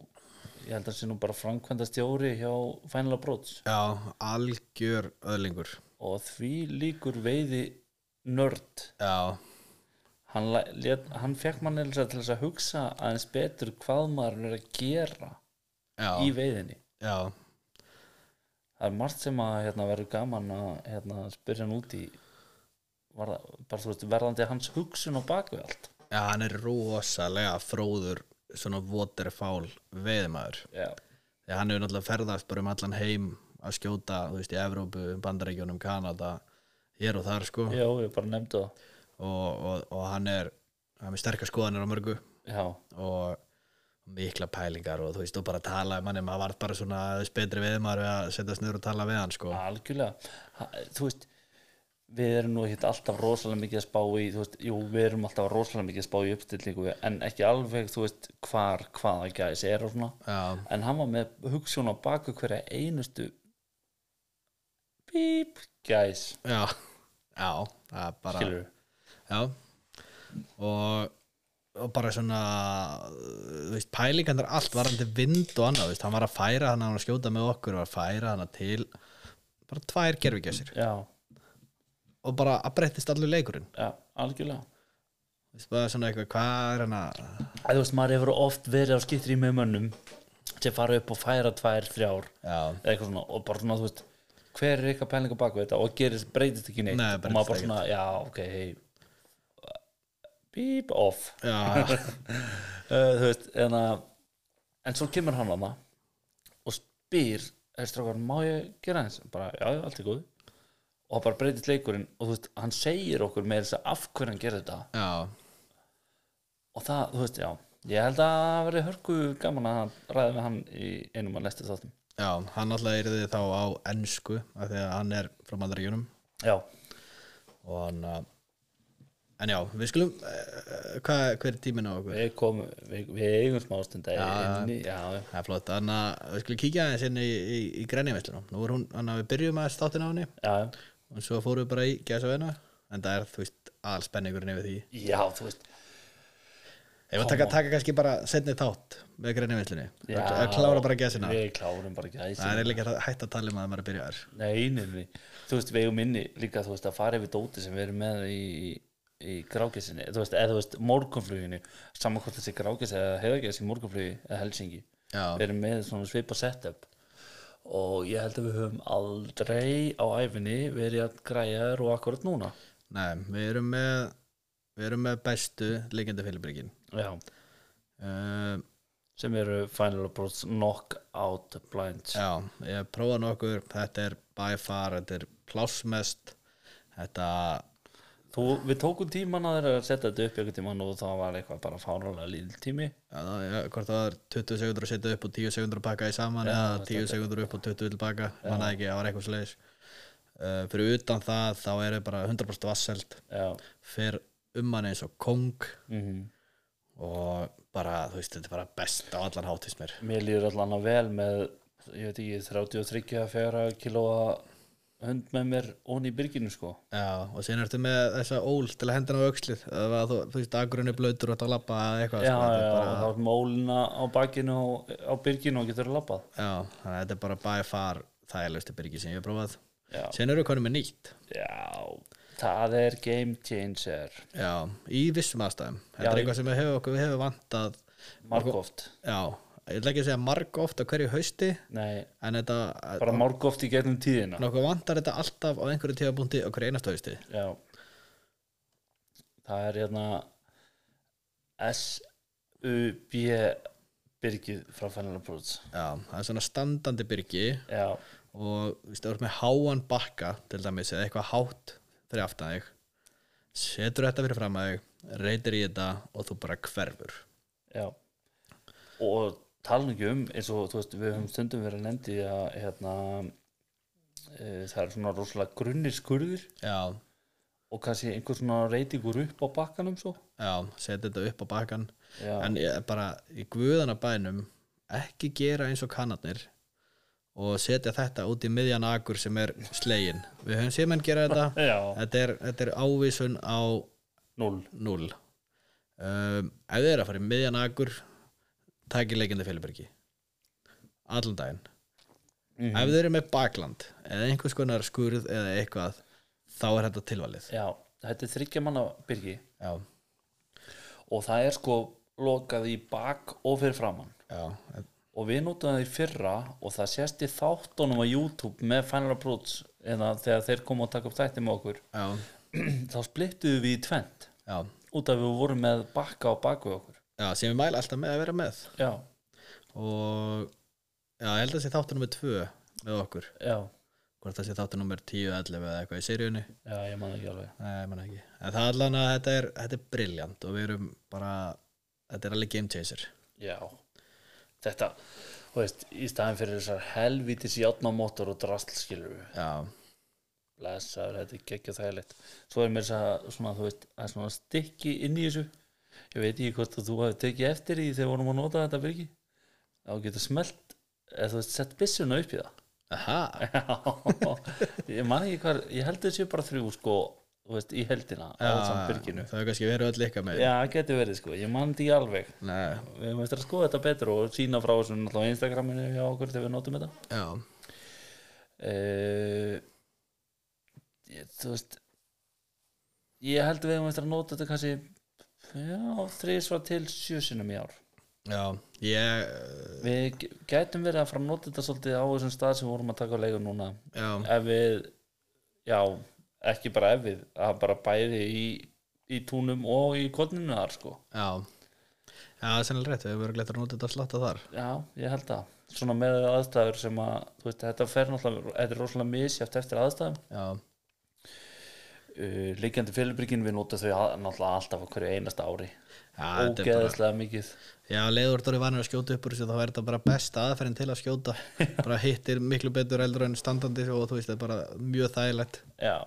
Speaker 2: ég held að sé nú bara framkvæmda stjóri hjá Final Approach
Speaker 1: Já, algjör öðlingur
Speaker 2: og því líkur veiði nörd
Speaker 1: Já,
Speaker 2: hann, la- lét, hann fekk mann til þess að hugsa aðeins betur hvað maður er að gera
Speaker 1: já,
Speaker 2: í veiðinni
Speaker 1: já,
Speaker 2: það er margt sem að hérna, verður gaman að hérna, spyrja hann út í var, bara þú veist verðandi hans hugsun á baku allt
Speaker 1: já, hann er rosalega fróður svona waterfall veðmaður
Speaker 2: já,
Speaker 1: þegar hann hefur náttúrulega ferðast bara um allan heim að skjóta, þú veist, í Evrópu, um Bandaríkjónum, Kanada hér og þar, sko og,
Speaker 2: já ég bara nefndi það
Speaker 1: og, og hann er hann er með sterkar skoðanir á mörgu
Speaker 2: Já,
Speaker 1: og mikla pælingar og þú veist, og bara tala um hann maður var bara svona aðeins betri veðmaður við að setjast niður og tala við hann, sko
Speaker 2: algjörlega ha, Þú veist, við erum nú ekkert alltaf rosalega mikið að spá í þú veist, Jú, við erum alltaf rosalega mikið að spá í uppstillingu en ekki alveg, þú veist, hvar hvaða gæs er og svona
Speaker 1: Já,
Speaker 2: en hann var með hugsun á baku hverja einustu bíp gæs
Speaker 1: já, já, það er bara
Speaker 2: skilur
Speaker 1: Já og, og bara svona þú veist, pælingarnar allt varandi vind og annað, þú veist, hann var að færa hann hann var að skjóta með okkur, var að færa hann til bara tvær gerfigessir
Speaker 2: Já,
Speaker 1: og bara að breyttist allur leikurinn
Speaker 2: já, algjörlega
Speaker 1: Þú veist, bara svona eitthvað, hvað er hann að
Speaker 2: Æ, Þú veist, maður hefur oft verið á skiptri með mönnum sem fara upp og færa tvær, þrjár
Speaker 1: Já,
Speaker 2: eða eitthvað svona og bara svona þú veist hver er eitthvað pælinga baku þetta og gerist breytist ekki neitt
Speaker 1: Nei,
Speaker 2: og maður bara
Speaker 1: breytist
Speaker 2: svona, já ok hey. beep off
Speaker 1: já,
Speaker 2: uh, þú veist, en að en svo kemur hann að það og spyr, er strákar, má ég gera eins bara, já, já, allt er góð og bara breytist leikurinn og þú veist, hann segir okkur með þess að segja af hverju hann gerir þetta
Speaker 1: já
Speaker 2: og það, þú veist, já ég held að það verið hörku gaman að ræða með hann í einum að næstu þáttum
Speaker 1: Já, hann alltaf er þið þá á ensku af því að hann er frá mandaríunum
Speaker 2: já,
Speaker 1: og hann að En já, við skulum, eh, hvað, hver er tíminn á okkur?
Speaker 2: Við komum, við, við eigum smá stund að inni, já,
Speaker 1: Það er flott, þannig að við skulum kíkja aðeins inn í, í, í grænjavislunum. Nú er hún, þannig að við byrjum aðeins þáttinn á henni
Speaker 2: já,
Speaker 1: og svo fórum við bara í gæsa vena en það er, þú veist, all spenningurinn yfir því.
Speaker 2: já, þú veist,
Speaker 1: Ef að taka, taka kannski bara setni þátt með grænjavislunni,
Speaker 2: já,
Speaker 1: að klára bara gæsina.
Speaker 2: Við klárum bara gæsina.
Speaker 1: Það er líka hægt að tala um að maður byrja þar.
Speaker 2: Nei, nei, nei, þú veist, við eigum inni líka, þú veist, að fara yfir dóti sem við erum með í, í grágæsinni, þú veist, eða þú veist, morgunfluginu, saman hvort þessi grágæs eða heiðagæs í morgunflugi eða Helsingi. Við
Speaker 1: Já,
Speaker 2: erum með svona svipa setup og ég held að við höfum aldrei á æfinni verið að græja og akkurat núna.
Speaker 1: nei, við erum með, við erum með bestu leikenda fylgbyrgin.
Speaker 2: Já.
Speaker 1: Uh,
Speaker 2: sem eru Final Approach Knockout Blinds
Speaker 1: Já, ég hef prófað nokkur þetta er by far, þetta er plásmest þetta
Speaker 2: Þú, við tókum tíman að þeirra að setja þetta upp einhvern tíman og það var eitthvað bara fárálega lítil tími
Speaker 1: Já, það- já, hvort það var 20 sekundur að setja upp og 10 sekundur að pakka í saman eða 10 sekundur upp og 20 tilbaka manna ekki, það var eitthvað Eh, slegis uh, fyrir utan það þá er það bara 100% vasselt
Speaker 2: Já,
Speaker 1: fyrir um hann eins og kong
Speaker 2: mm
Speaker 1: og bara, þú veist, þetta er bara best á allan hátist mér
Speaker 2: Mér líður allan að vel með ég veit ekki, 33-4 kilóa hund með mér ón í byrginu sko
Speaker 1: Já, og síðan ertu með þessa ól til að henda hann á öxlið eða var þú, þú veist, agrunni blöytur og þetta að labba eða eitthvað
Speaker 2: Já,
Speaker 1: sko, þetta
Speaker 2: já,
Speaker 1: er
Speaker 2: og þá er mólina á bakinu og á byrginu og getur labbað
Speaker 1: bara, já, þannig að þetta er bara by far þægilegustu byrgi sem ég hef prófað
Speaker 2: Já.
Speaker 1: síðan eru konum með nýtt
Speaker 2: Já, það er game changer
Speaker 1: já, í vissum aðstæðum þetta
Speaker 2: Já,
Speaker 1: er
Speaker 2: ég-
Speaker 1: eitthvað sem við hefur, okkur, við hefur vantað
Speaker 2: Markoft
Speaker 1: já, ég ætla ekki að segja marg oft á hverju hausti
Speaker 2: Nei,
Speaker 1: en þetta,
Speaker 2: bara Markoft í gegnum tíðina
Speaker 1: nokkuð vantar þetta alltaf á einhverju tíðabúndi á hverju einasta hausti
Speaker 2: Já Það er hérna S-U-B byrgið frá Final Approach
Speaker 1: já, það er svona standandi byrgi
Speaker 2: Já,
Speaker 1: og þú veist, þú ert með háan bakka til dæmis eða eitthvað hátt fyrir aftan þig setur þetta fyrir fram að þig reytir í þetta og þú bara hverfur
Speaker 2: já og tala ekki um eins og þú veist, við höfum stundum verið að nefndi að hérna e, það er svona rosalega grunnir skurðir
Speaker 1: já,
Speaker 2: og kannski einhver svona reytingur upp á bakkanum svo
Speaker 1: já, setur þetta upp á bakkan
Speaker 2: Já,
Speaker 1: en ég, bara í guðana bænum ekki gera eins og kannarnir og setja þetta út í miðjan akur sem er slegin við höfum séð menn gera þetta
Speaker 2: já
Speaker 1: þetta er, þetta er ávísun á
Speaker 2: null
Speaker 1: 0 um, ef þið eru að fara í miðjan akur takir leikindi Filibergi allan daginn
Speaker 2: Mhm.
Speaker 1: ef þið eru með bakland eða einhvers konar skurð eða eitthvað þá er þetta tilvalið
Speaker 2: Já, þetta er þriggja manna byrgi
Speaker 1: já,
Speaker 2: og það er sko lokað í bak og fyrir framann
Speaker 1: já,
Speaker 2: og við notum það í fyrra og það sést í þáttunum á YouTube með Final Approach eða þegar þeir komu að taka upp þætti með okkur
Speaker 1: já,
Speaker 2: þá splittuðu við í tvent
Speaker 1: já,
Speaker 2: út af við vorum með bakka og baku okkur
Speaker 1: já sem við mæla alltaf með að vera með
Speaker 2: Já,
Speaker 1: og já, ég held að sé þáttur nummer 2 með okkur
Speaker 2: já,
Speaker 1: hvort það sé þáttur nummer 10, 11 eða eitthvað í seríunni
Speaker 2: já, ég man ekki alveg
Speaker 1: Nei, ég man ekki. En það er allan að þetta er, þetta er briljant og við erum bara, þetta er alveg game chaser.
Speaker 2: Já, þetta þú veist, í staðin fyrir þessar helvítis játnamótor og drastlskilur við
Speaker 1: Já,
Speaker 2: blessaður, þetta er geggja þægilegt svo er mér þess að svona, þú veist, það er svona stykki inn í þessu ég veit ekki hvort að þú hafi tekið eftir í þegar vorum að nota þetta byrgi þá getur smelt eða þú veist, sett byssuna upp í
Speaker 1: aha,
Speaker 2: það ég man ekki hvar, ég held þessi bara þrjú sko, þú veist, í heldina á samt byrginu,
Speaker 1: það er kannski verið öll líka með.
Speaker 2: já, getur verið sko ég man þetta ekki alveg,
Speaker 1: Nei,
Speaker 2: við höfum eftir að skoða þetta betur og sína frá þessu náttúrulega á Instagraminu hjá okkur þegar við notum þetta
Speaker 1: já,
Speaker 2: uh, ég, þú veist ég held að við erum eftir að nota þetta kannski já, þrísvar til sjösinum í ár
Speaker 1: já, ég, eh,
Speaker 2: við g- gætum verið að fara að nota þetta svolítið á þessum stað sem við vorum að taka á leikum núna
Speaker 1: já,
Speaker 2: ef við, já ekki bara ef við, að bara bæði í, í túnum og í kodninu þar sko,
Speaker 1: já. Já, það er sennilega rétt, við hefur verið glætt að nota þetta slatta þar.
Speaker 2: já, ég held það svona með aðstæður sem að þú veist, þetta fer náttúrulega, þetta er rosalega misjæft eftir aðstæðum
Speaker 1: Já,
Speaker 2: uh, liggjandi fylgbyrgin við nota þau a- náttúrulega alltaf á hverju einasta ári
Speaker 1: já, þetta er bara,
Speaker 2: ógeðaslega mikið
Speaker 1: já, leiður þú eru vanur að skjóta upp úr þessu, þá er þetta bara besta aðferðin til að skjóta. bara hittir miklu betur eldur en standandi og þú veist, það er bara mjög þægilegt.
Speaker 2: já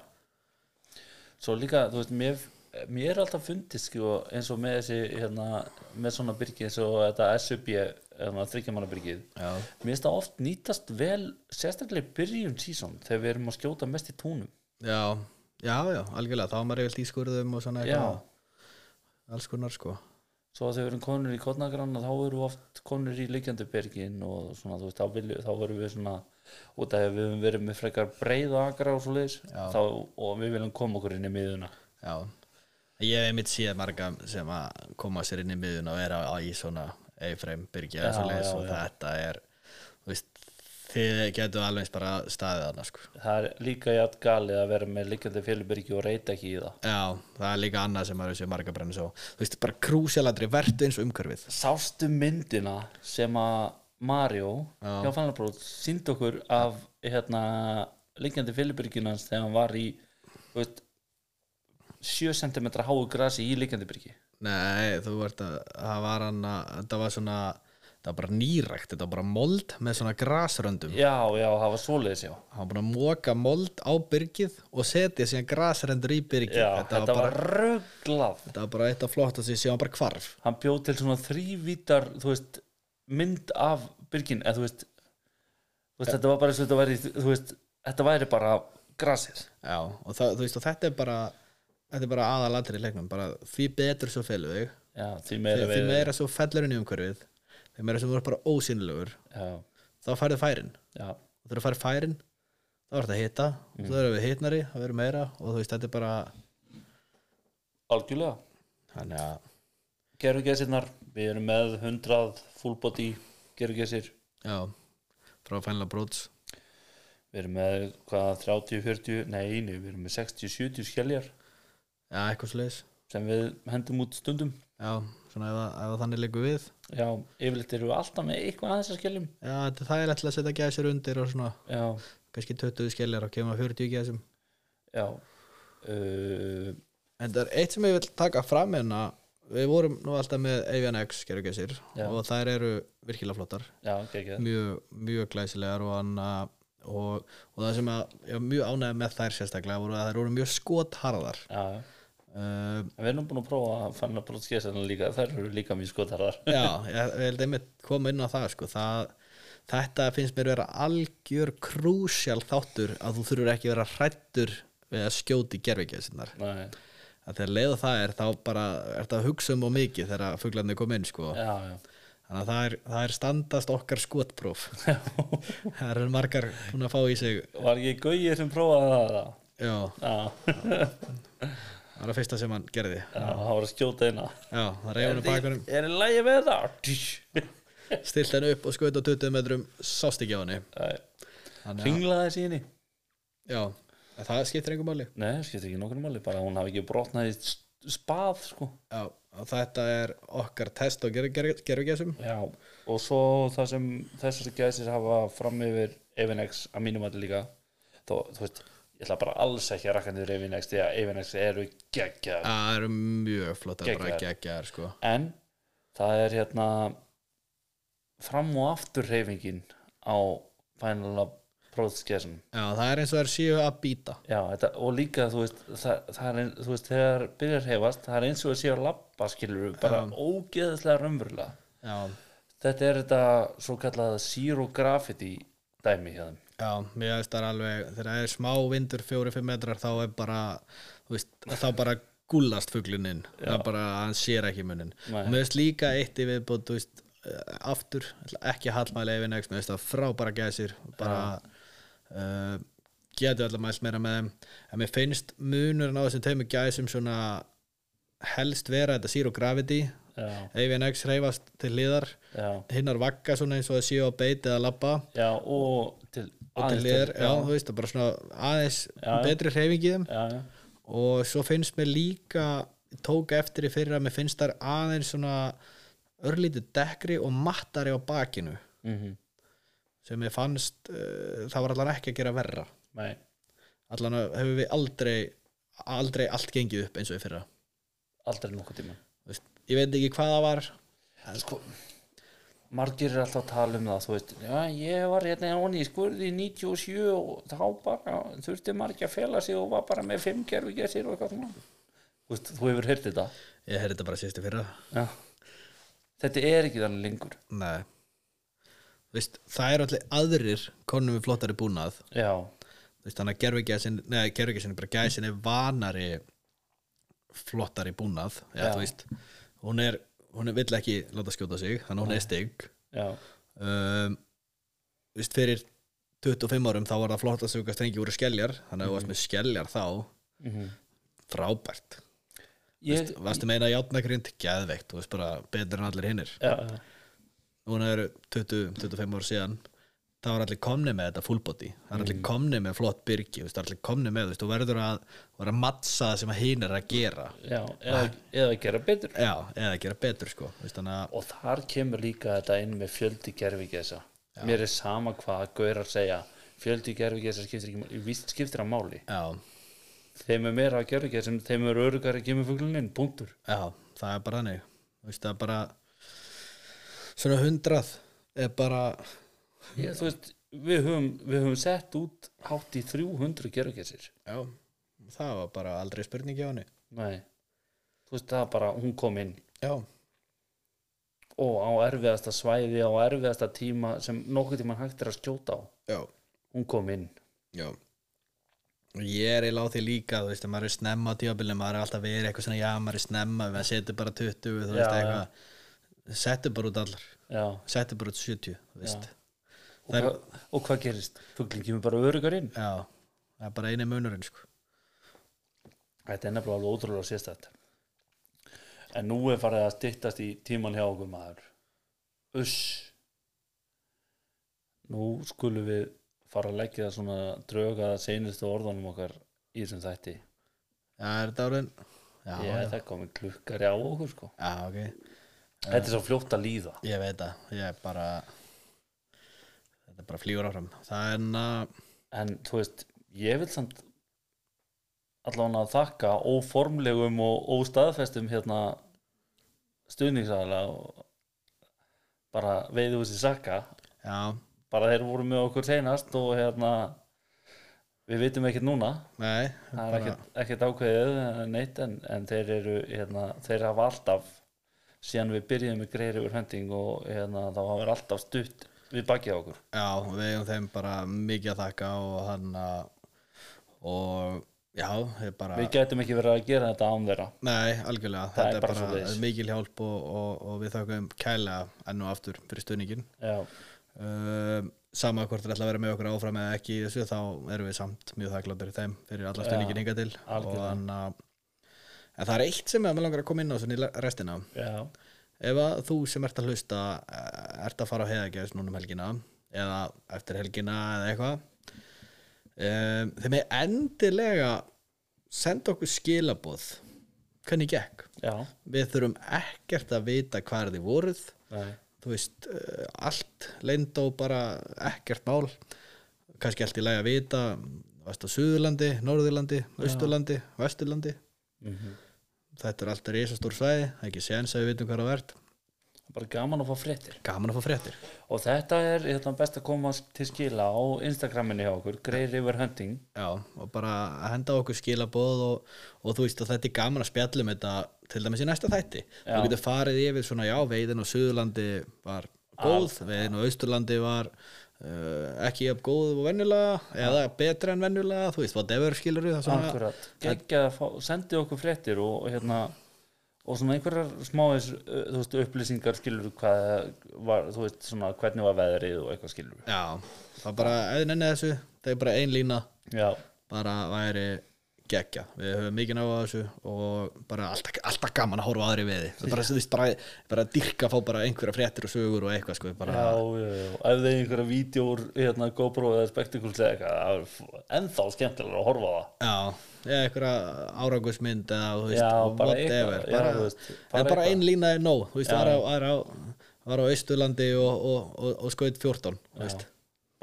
Speaker 2: svo líka, þú veist, mér mér er alltaf fundist sko, eins og með þessi hérna, með svona byrgi eins og þetta SUB hérna, þryggjamanna byrgið
Speaker 1: Já,
Speaker 2: mér finnst það oft nýtast vel sérstaklega í byrjun sísón þegar við erum að skjóta mest í túnum
Speaker 1: já, já, já, algjörlega, þá er maður yfirlt í skurðum og svona
Speaker 2: já,
Speaker 1: alls konar sko
Speaker 2: svo að þegar við erum konur í kodnagranna þá erum við oft konur í liggjandi byrgin og svona, þú veist, þá, vilju, þá erum við svona út af því að við höfum verið með frekar breiða akra og svo þá, og við viljum koma okkur inn í miðuna
Speaker 1: já. ég hef einmitt séð marga sem að koma sér inn í miðun og vera á í svona A-frame byrgja
Speaker 2: Já,
Speaker 1: eða svoleiðis
Speaker 2: já,
Speaker 1: og
Speaker 2: já.
Speaker 1: þetta er þú veist, þið getur alveg eins bara staðið þarna sko
Speaker 2: það er líka jætt galið að vera með liggjandi fjölubyrgi og reyta ekki í það
Speaker 1: já, það er líka annað sem maður séð marga brenna svo þú veist, bara krúsjaladri, vertu eins og umhverfið
Speaker 2: sástu myndina sem að Mario
Speaker 1: Já.
Speaker 2: hjá Fannarbróð síndi okkur af hérna, liggjandi fjölubyrginans þegar hann var í þú veist, 7 cm háu grasi í liggjandi byrgi
Speaker 1: nei, þú vart að það var hann að, það var svona það var bara nýrækt, þetta var bara mold með svona grasröndum
Speaker 2: já, já, það var svoleiðis, já
Speaker 1: hann var búin að móka mold á byrgið og setja síðan grasrendur í byrgið
Speaker 2: já, þetta, var,
Speaker 1: bara,
Speaker 2: var rugglað
Speaker 1: þetta var bara eitt af flott að því síðan bara hvarf
Speaker 2: hann bjóð til svona þrývítar þú veist, mynd af byrgin, eða þú veist, þú veist þetta var bara eins og þetta væri, þú veist þetta væri bara grasir
Speaker 1: Já, og það, þú veist, og þetta er bara þetta er bara aðalatri í leiknum bara því betur svo felur þig
Speaker 2: já, því
Speaker 1: því,
Speaker 2: meira
Speaker 1: því
Speaker 2: við
Speaker 1: meira svo fellur inn í umhverfið því meira svo voru bara ósýnilegur
Speaker 2: já,
Speaker 1: þá færðu færin,
Speaker 2: já,
Speaker 1: og þegar þú færðu færin þá er þetta að hita, mm. þú erum við hitnari það verður meira og þú veist, þetta er bara
Speaker 2: algjörlega
Speaker 1: þannig að,
Speaker 2: gerum gesirnar, við erum með 100 full body gerum gesir
Speaker 1: já frá Final Brots,
Speaker 2: við erum með hvað 30, 40, nei, nei við erum með 60, 70 skelljar
Speaker 1: já, eitthvað slags
Speaker 2: sem við hendum út stundum
Speaker 1: já, svona ef, að- ef að þannig leikur við
Speaker 2: já, yfirleitt erum við alltaf með eitthvað að þessar skelljum
Speaker 1: já, þetta er þægilegt til að setja gæsir undir og svona,
Speaker 2: já,
Speaker 1: kannski 20 skelljar og kemur að 40 gæsum
Speaker 2: já uh,
Speaker 1: En það er eitt sem ég vil taka fram hérna Við vorum nú alltaf með Avian X gerugessir
Speaker 2: Já.
Speaker 1: og þær eru virkilega flottar
Speaker 2: já, ekki
Speaker 1: mjög, mjög glæsilegar og, anna, og, og það sem að ég var mjög ánægð með þær sérstaklega voru að þær voru mjög skotharðar
Speaker 2: já, já
Speaker 1: uh,
Speaker 2: En Við erum búin að prófa að fanna brotskesana líka, þær eru líka mjög skotarðar.
Speaker 1: Já, ég, ég held einmitt koma inn á það sko, það Þetta finnst mér vera algjör krúsjál þáttur að þú þurfur ekki vera hrættur við að skjóti gerfingjöðsinnar.
Speaker 2: Nei,
Speaker 1: Þegar leiða það er þá bara er það að hugsa um og mikið þegar fuglarnir kom inn sko.
Speaker 2: já, já,
Speaker 1: Þannig að það er, það er standast okkar skotpróf. það eru margar hún að fá í sig.
Speaker 2: var ekki gauðið sem prófaði það það?
Speaker 1: Já,
Speaker 2: Já,
Speaker 1: það var það fyrsta sem hann gerði.
Speaker 2: já, það var að skjóta eina.
Speaker 1: Já, það reyði hann bakunum,
Speaker 2: Er í lægi með það? Tsh.
Speaker 1: stilt hann upp og skauði á 20 metrum, sást ekki á henni.
Speaker 2: Nei,
Speaker 1: Þannig að,
Speaker 2: Ringlaði þessi henni?
Speaker 1: já, en það skiptir einhver máli.
Speaker 2: Nei, það skiptir ekki nokkur máli, bara hún hafi ekki brotnað í s- spað, sko.
Speaker 1: Já, og þetta er okkar test og gerfugessum.
Speaker 2: Já, og svo það sem þessar gæsir hafa fram yfir Evinex að mínum allir líka, þá, þú veist, ég ætla bara alls ekki að rakka niður Evinex því að Evinex eru geggjað
Speaker 1: Það eru mjög flott að bara
Speaker 2: Geggjaðar.
Speaker 1: geggjaðar, sko.
Speaker 2: en það er hérna fram og aftur reyfingin á Final Approach Gesson
Speaker 1: Já, það er eins og það er síu að býta.
Speaker 2: Já, þetta, og líka þú veist, það, það er, ein- þú veist þegar byrjar að hefast, það er eins og að sé að labba skilur bara ógeðslega raunverulega
Speaker 1: Já,
Speaker 2: þetta er þetta svo kallað zero graffiti dæmi hjá þeim
Speaker 1: já, mér finnst það er alveg, þegar það er smá vindur, fjóri-fimm metrar, þá er bara, þú veist, þá bara gúllast fugluninn. Það er bara, hann sér ekki munnin.
Speaker 2: Nei.
Speaker 1: Og mér finnst líka eitt í viðbútt, þú veist, eh, aftur, ætla ekki að hallmæli yfir next, mér finnst það frábæra gæsir, bara, uh, getur alltaf mælt meira með þeim. En mér finnst munurinn á þessum tveimur gæsum svona helst vera þetta zero gravity,
Speaker 2: Já,
Speaker 1: AVNX reyfast til hliðar,
Speaker 2: já,
Speaker 1: hinnar vakka svona eins og það séu á beiti eða labba
Speaker 2: já og til
Speaker 1: og til
Speaker 2: aðeins
Speaker 1: liðar, já, þú veist, það er bara svona aðeins betri hreyfingiðum
Speaker 2: já, já,
Speaker 1: og svo finnst mér líka ég tók eftir í fyrir að mér finnst þar aðeins svona örlítið dekkri og mattari á bakinu
Speaker 2: mm
Speaker 1: sem ég fannst uh, það var allan ekki að gera verra
Speaker 2: nei,
Speaker 1: allan að- hefur við aldrei aldrei allt gengið upp eins og í fyrra
Speaker 2: aldrei nokkuð tíma
Speaker 1: Þú veist, ég veit ekki hvað það var
Speaker 2: sko margir er alltaf að tala um það þú veist, já ég var hérna onni í skurði í 97 og þá bara þurfti margir að fela sig og var bara með 5 gerfi gessir og eitthvað svona þú veist, þú hefur heyrt þetta
Speaker 1: ég heyrði þetta bara síðustu fyrra
Speaker 2: já. þetta er ekki þannig lengur
Speaker 1: Nei Vist, það eru allir aðrir konum við flottari búnað
Speaker 2: já,
Speaker 1: Vist, þannig að gerfugæsin neða gerfugæsin er bara gæsin er vanari flottari búnað eða,
Speaker 2: Já.
Speaker 1: þú veist, hún er hún er vill ekki láta skjóta sig þannig að hún er stygg
Speaker 2: já,
Speaker 1: um, vist, fyrir 25 árum þá var það flott að sögja strengi úr skelljar þannig að þú varst með skelljar þá frábært
Speaker 2: ég,
Speaker 1: varstu meina játnagrind geðveikt þú veist bara betur en allir hinnir
Speaker 2: já, já.
Speaker 1: núna eru 20-25 ár síðan það var allir komni með þetta full body það er allir komni með flott byrgi þú veist, það er allir komni með, þú veist, þú verður að vera að mattsa það sem að hinn er að gera
Speaker 2: já eða, eða gera betur
Speaker 1: já, eða gera betur sko þú veist, þannig að,
Speaker 2: og þar kemur líka þetta inn með fjöldi gerfigesa mér er sama hvað gaurar segja fjöldi gerfigesa skiptir ekki máli víst skiptir að máli
Speaker 1: já,
Speaker 2: þeim er meira að gera ekki sem þeim er örugari að kemur fugluninn, punktur
Speaker 1: já, það er bara þannig þú veist, það er bara svona hundrað er bara
Speaker 2: ég, þú veist, við höfum, við höfum sett út hátt í 300 gerugessir
Speaker 1: já, það var bara aldrei spurningi á henni
Speaker 2: nei, þú veist, það er bara hún kom inn
Speaker 1: já,
Speaker 2: og á erfiðasta svæði á erfiðasta tíma sem nokkuð tíma hægt er að skjóta á
Speaker 1: já,
Speaker 2: hún kom inn
Speaker 1: já og ég er eiginlega á því líka þú veist, ef maður er snemma á tíabilið maður er alltaf verið eitthvað svona, já, maður er snemma maður setur bara 20, þú
Speaker 2: Já,
Speaker 1: veist, eitthvað setur bara út allar,
Speaker 2: já,
Speaker 1: setur bara út 70 þú veist,
Speaker 2: og, hva, og hvað gerist? Fuglinn kemur bara örugar inn
Speaker 1: já, það er bara eini munurinn sko.
Speaker 2: Þetta er nefnilega alveg ótrúlega sérstætt En nú er farið að styttast í tíman hjá okkur maður Uss Nú skulum við fara að leggja svona drög að seinustu orðanum okkar í þessum þætti
Speaker 1: já, er þetta áriðin? já,
Speaker 2: Ég
Speaker 1: já,
Speaker 2: er það komin klukkari á okkur sko
Speaker 1: já, ok
Speaker 2: Þetta er svo fljótt að líða
Speaker 1: Ég veit það, ég er bara þetta bara flýgur áfram það er að,
Speaker 2: En þú veist, ég vil samt allan að þakka óformlegum og óstaðfestum hérna stuðningsaðalega og bara veiðu þessi sakka
Speaker 1: já,
Speaker 2: bara þeir voru með okkur seinast og hérna við vitum ekkert núna
Speaker 1: nei
Speaker 2: það er ekkert, ekkert ákveðið eh, neitt en, en þeir eru hérna, þeir hafa alltaf síðan við byrjuðum með greir yfir hending og hérna, þá hafa þeir alltaf stutt við bakið á okkur
Speaker 1: já, við eigum þeim bara mikið að þakka og hann að og já, ég bara
Speaker 2: við getum ekki verið að gera þetta án þeirra
Speaker 1: nei, algjörlega,
Speaker 2: Það
Speaker 1: þetta
Speaker 2: er
Speaker 1: er
Speaker 2: bara
Speaker 1: bara,
Speaker 2: svoleiðis.
Speaker 1: mikil hjálp og, og, og við þakkaum kælega enn og aftur fyrir stöðningin
Speaker 2: já,
Speaker 1: um, sama hvort er alltaf að vera með okkur áfram eða ekki í þessu, þá erum við samt mjög þakkláttur í þeim fyrir alla stöðningin hinga til og
Speaker 2: algjörlega.
Speaker 1: hann að En það er eitt sem ég með langar að koma inn á svona í le- restina
Speaker 2: já,
Speaker 1: ef að þú sem ert að hlusta eh, ert að fara á heiðagjæðis núna um helgina eða eftir helgina eða eitthvað um, þeim er endilega senda okkur skilaboð hvernig gekk
Speaker 2: já,
Speaker 1: við þurfum ekkert að vita hvað er þið voruð
Speaker 2: nei,
Speaker 1: þú veist, eh, allt leynd og bara ekkert mál kannski allt í lagi að vita varst á Suðurlandi, Norðurlandi, Austurlandi Vesturlandi
Speaker 2: Mhm.
Speaker 1: þetta er alltaf risastór svæði það er ekki séns að við vitum hvað það verð
Speaker 2: Það er bara gaman að fá fréttir
Speaker 1: gaman að fá fréttir
Speaker 2: og þetta er hérna, best að koma til skila á Instagraminu hjá okkur greir yfir hending
Speaker 1: Já, og bara að henda okkur skilaboð og, og þú veist að þetta er gaman að spjalla um þetta til dæmis í næsta þætti þú getur farið yfir svona, já, veiðin á Suðurlandi var góð, veiðin á Austurlandi var uh, ekki jafn góð og venjulega eða betra en venjulega, þú veist, whatever skilur við það svona,
Speaker 2: Akkurat, geggjað að fá, sendi okkur fréttir og, og hérna og svona einhverjar smáis þú veist, upplýsingar skilur hvað var, þú veist, svona hvernig var veðrið og eitthvað skilur
Speaker 1: já, það bara eða nenni þessu, það er bara ein lína
Speaker 2: Já,
Speaker 1: bara væri geggja, við höfum mikið náðu á þessu og bara alltaf, alltaf gaman að horfa á aðri við þið, bara, þú veist, bara, bara dyrka að fá bara einhverja fréttir og sögur og eitthvað sko, bara,
Speaker 2: já, já, já, ef þeir einhverja vídjór, hérna, GoPro eða spektakuls eða eitthvað, það er f- ennþá skemmtilega að horfa á það
Speaker 1: Já, eða einhverja árangusmynd eða þú veist,
Speaker 2: Já, bara
Speaker 1: whatever
Speaker 2: eitthvað, já,
Speaker 1: bara,
Speaker 2: þú veist, bara
Speaker 1: en bara
Speaker 2: eitthvað.
Speaker 1: ein lína er nóg þú veist, var á, var á, var á Austurlandi og, og, og, og skoðið 14 þú veist,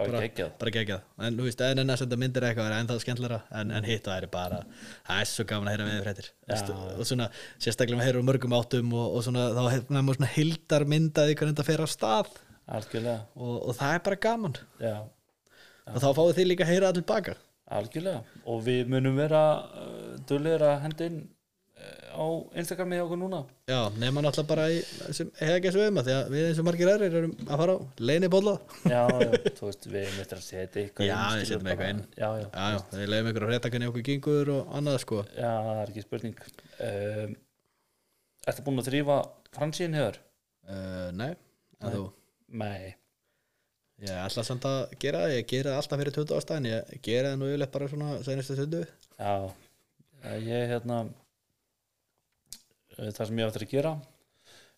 Speaker 2: bara geggjað
Speaker 1: bara geggjað en þú veist, en en að senda myndir eða eitthvað er ennþá skemmtlara en, en hitt það er bara, það er svo gaman að heyra með fréttir þú veist, og svona, sérstaklega maður heyra úr mörgum áttum og, og svona, þá hefna maður svona hildarmyndaði hvernig þetta fer af stað
Speaker 2: Algjörlega,
Speaker 1: og, og það er bara gaman
Speaker 2: já,
Speaker 1: og þá fáið þið líka að heyra allir baka
Speaker 2: algjörlega og við munum vera uh, dullir að henda inn uh, á Instagramið hjá okkur núna
Speaker 1: Já, nema náttúrulega bara í sem hefða ekki að sveima því að við eins og margir aðrir erum að fara á leinibólla
Speaker 2: já, já, þú veist, við erum eftir að setja eitthvað
Speaker 1: Já,
Speaker 2: inn,
Speaker 1: við
Speaker 2: skilur
Speaker 1: setjum eitthvað
Speaker 2: bara-
Speaker 1: inn.
Speaker 2: já, já,
Speaker 1: Já, já, við leiðum ykkur að rétta hvernig okkur gengur og annað sko
Speaker 2: já, það er ekki spurning um, Ertu búin að þrýfa fransíðin hefur?
Speaker 1: uh, Nei, en þú
Speaker 2: Nei,
Speaker 1: Ég ætla samt að gera það, ég gera það alltaf fyrir 20 ástæðin ég gera það nú yfirleitt bara svona senastu stundu
Speaker 2: já Eh, ég hérna eh, það sem ég á eftir að gera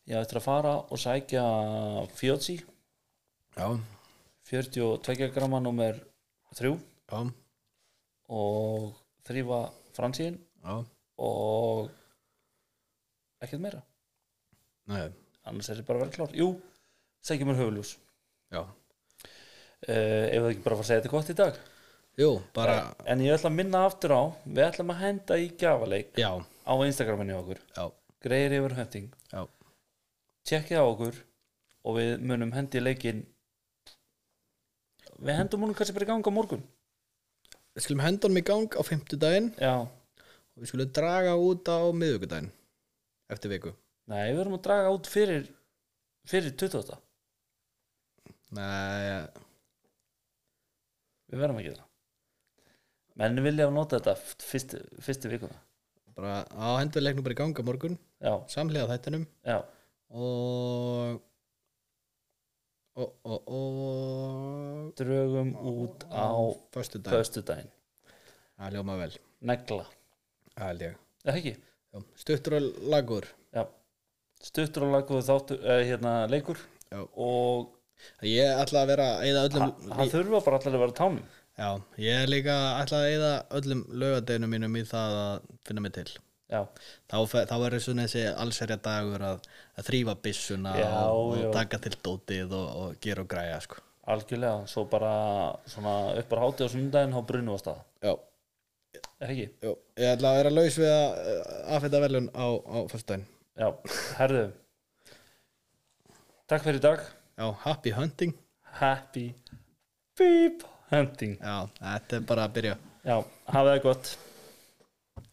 Speaker 2: ég á eftir að fara og sækja Fjótsi,
Speaker 1: Já,
Speaker 2: 42 gramma nummer 3
Speaker 1: já,
Speaker 2: og þrýfa fransíðin
Speaker 1: já
Speaker 2: og ekkert meira
Speaker 1: Nei,
Speaker 2: annars er ég bara að vera klár Jú, sækja mér höfuljús
Speaker 1: já
Speaker 2: uh, ef það ekki bara að fara að segja þetta gott í dag
Speaker 1: Jú, bara,
Speaker 2: en ég ætla að minna aftur á við ætlum að henda í gjafaleik
Speaker 1: já,
Speaker 2: á Instagraminu hjá okkur,
Speaker 1: já,
Speaker 2: greiðir yfir hending
Speaker 1: já
Speaker 2: tjekkið á okkur og við munum hendi leikinn við hendum honum kannski bara í ganga morgun
Speaker 1: Við skulum henda honum í gang á fimmtudaginn
Speaker 2: já,
Speaker 1: og við skulum draga út á miðvikudaginn eftir viku.
Speaker 2: nei, við erum að draga út fyrir fyrir 28
Speaker 1: Nei,
Speaker 2: við verðum að gera það menn vilja að nota þetta f- fyrstu, fyrstu vikuna
Speaker 1: bara á hendur leiknum bara í gang á morgun,
Speaker 2: já,
Speaker 1: samlega þættinum
Speaker 2: já,
Speaker 1: og og, og, og
Speaker 2: drögum út á
Speaker 1: föstudaginn.
Speaker 2: föstudaginn,
Speaker 1: Það ljóma vel,
Speaker 2: negla
Speaker 1: það held ég.
Speaker 2: eða ekki,
Speaker 1: Já, Stuttur og lagur.
Speaker 2: já stuttur og lagu þáttur, eh, hérna, leikur
Speaker 1: Já.
Speaker 2: og
Speaker 1: Ég ætla að vera að eyða
Speaker 2: ha-
Speaker 1: öllum
Speaker 2: hann þurfa bara allir að vera á tánum
Speaker 1: Já, ég er líka ætla að eyða öllum lögadeginu mínum í það að finna mig til.
Speaker 2: já,
Speaker 1: Þá, fe- þá er svona þessi allserja dagur að, að þrýfa byssuna
Speaker 2: Já,
Speaker 1: og,
Speaker 2: já.
Speaker 1: og taka til dótið og, og gera og græja sko.
Speaker 2: algjörlega svo bara svona upp bara hátíð á sundaginn á brunum á stað,
Speaker 1: Já,
Speaker 2: eða ekki
Speaker 1: já, ég ætla að vera laus við að aðfenda velun á, á föstudaginn.
Speaker 2: já, herðu takk fyrir í dag
Speaker 1: Já, happy hunting.
Speaker 2: happy beep hunting
Speaker 1: Já, þetta er bara að byrja.
Speaker 2: já, hafið það gott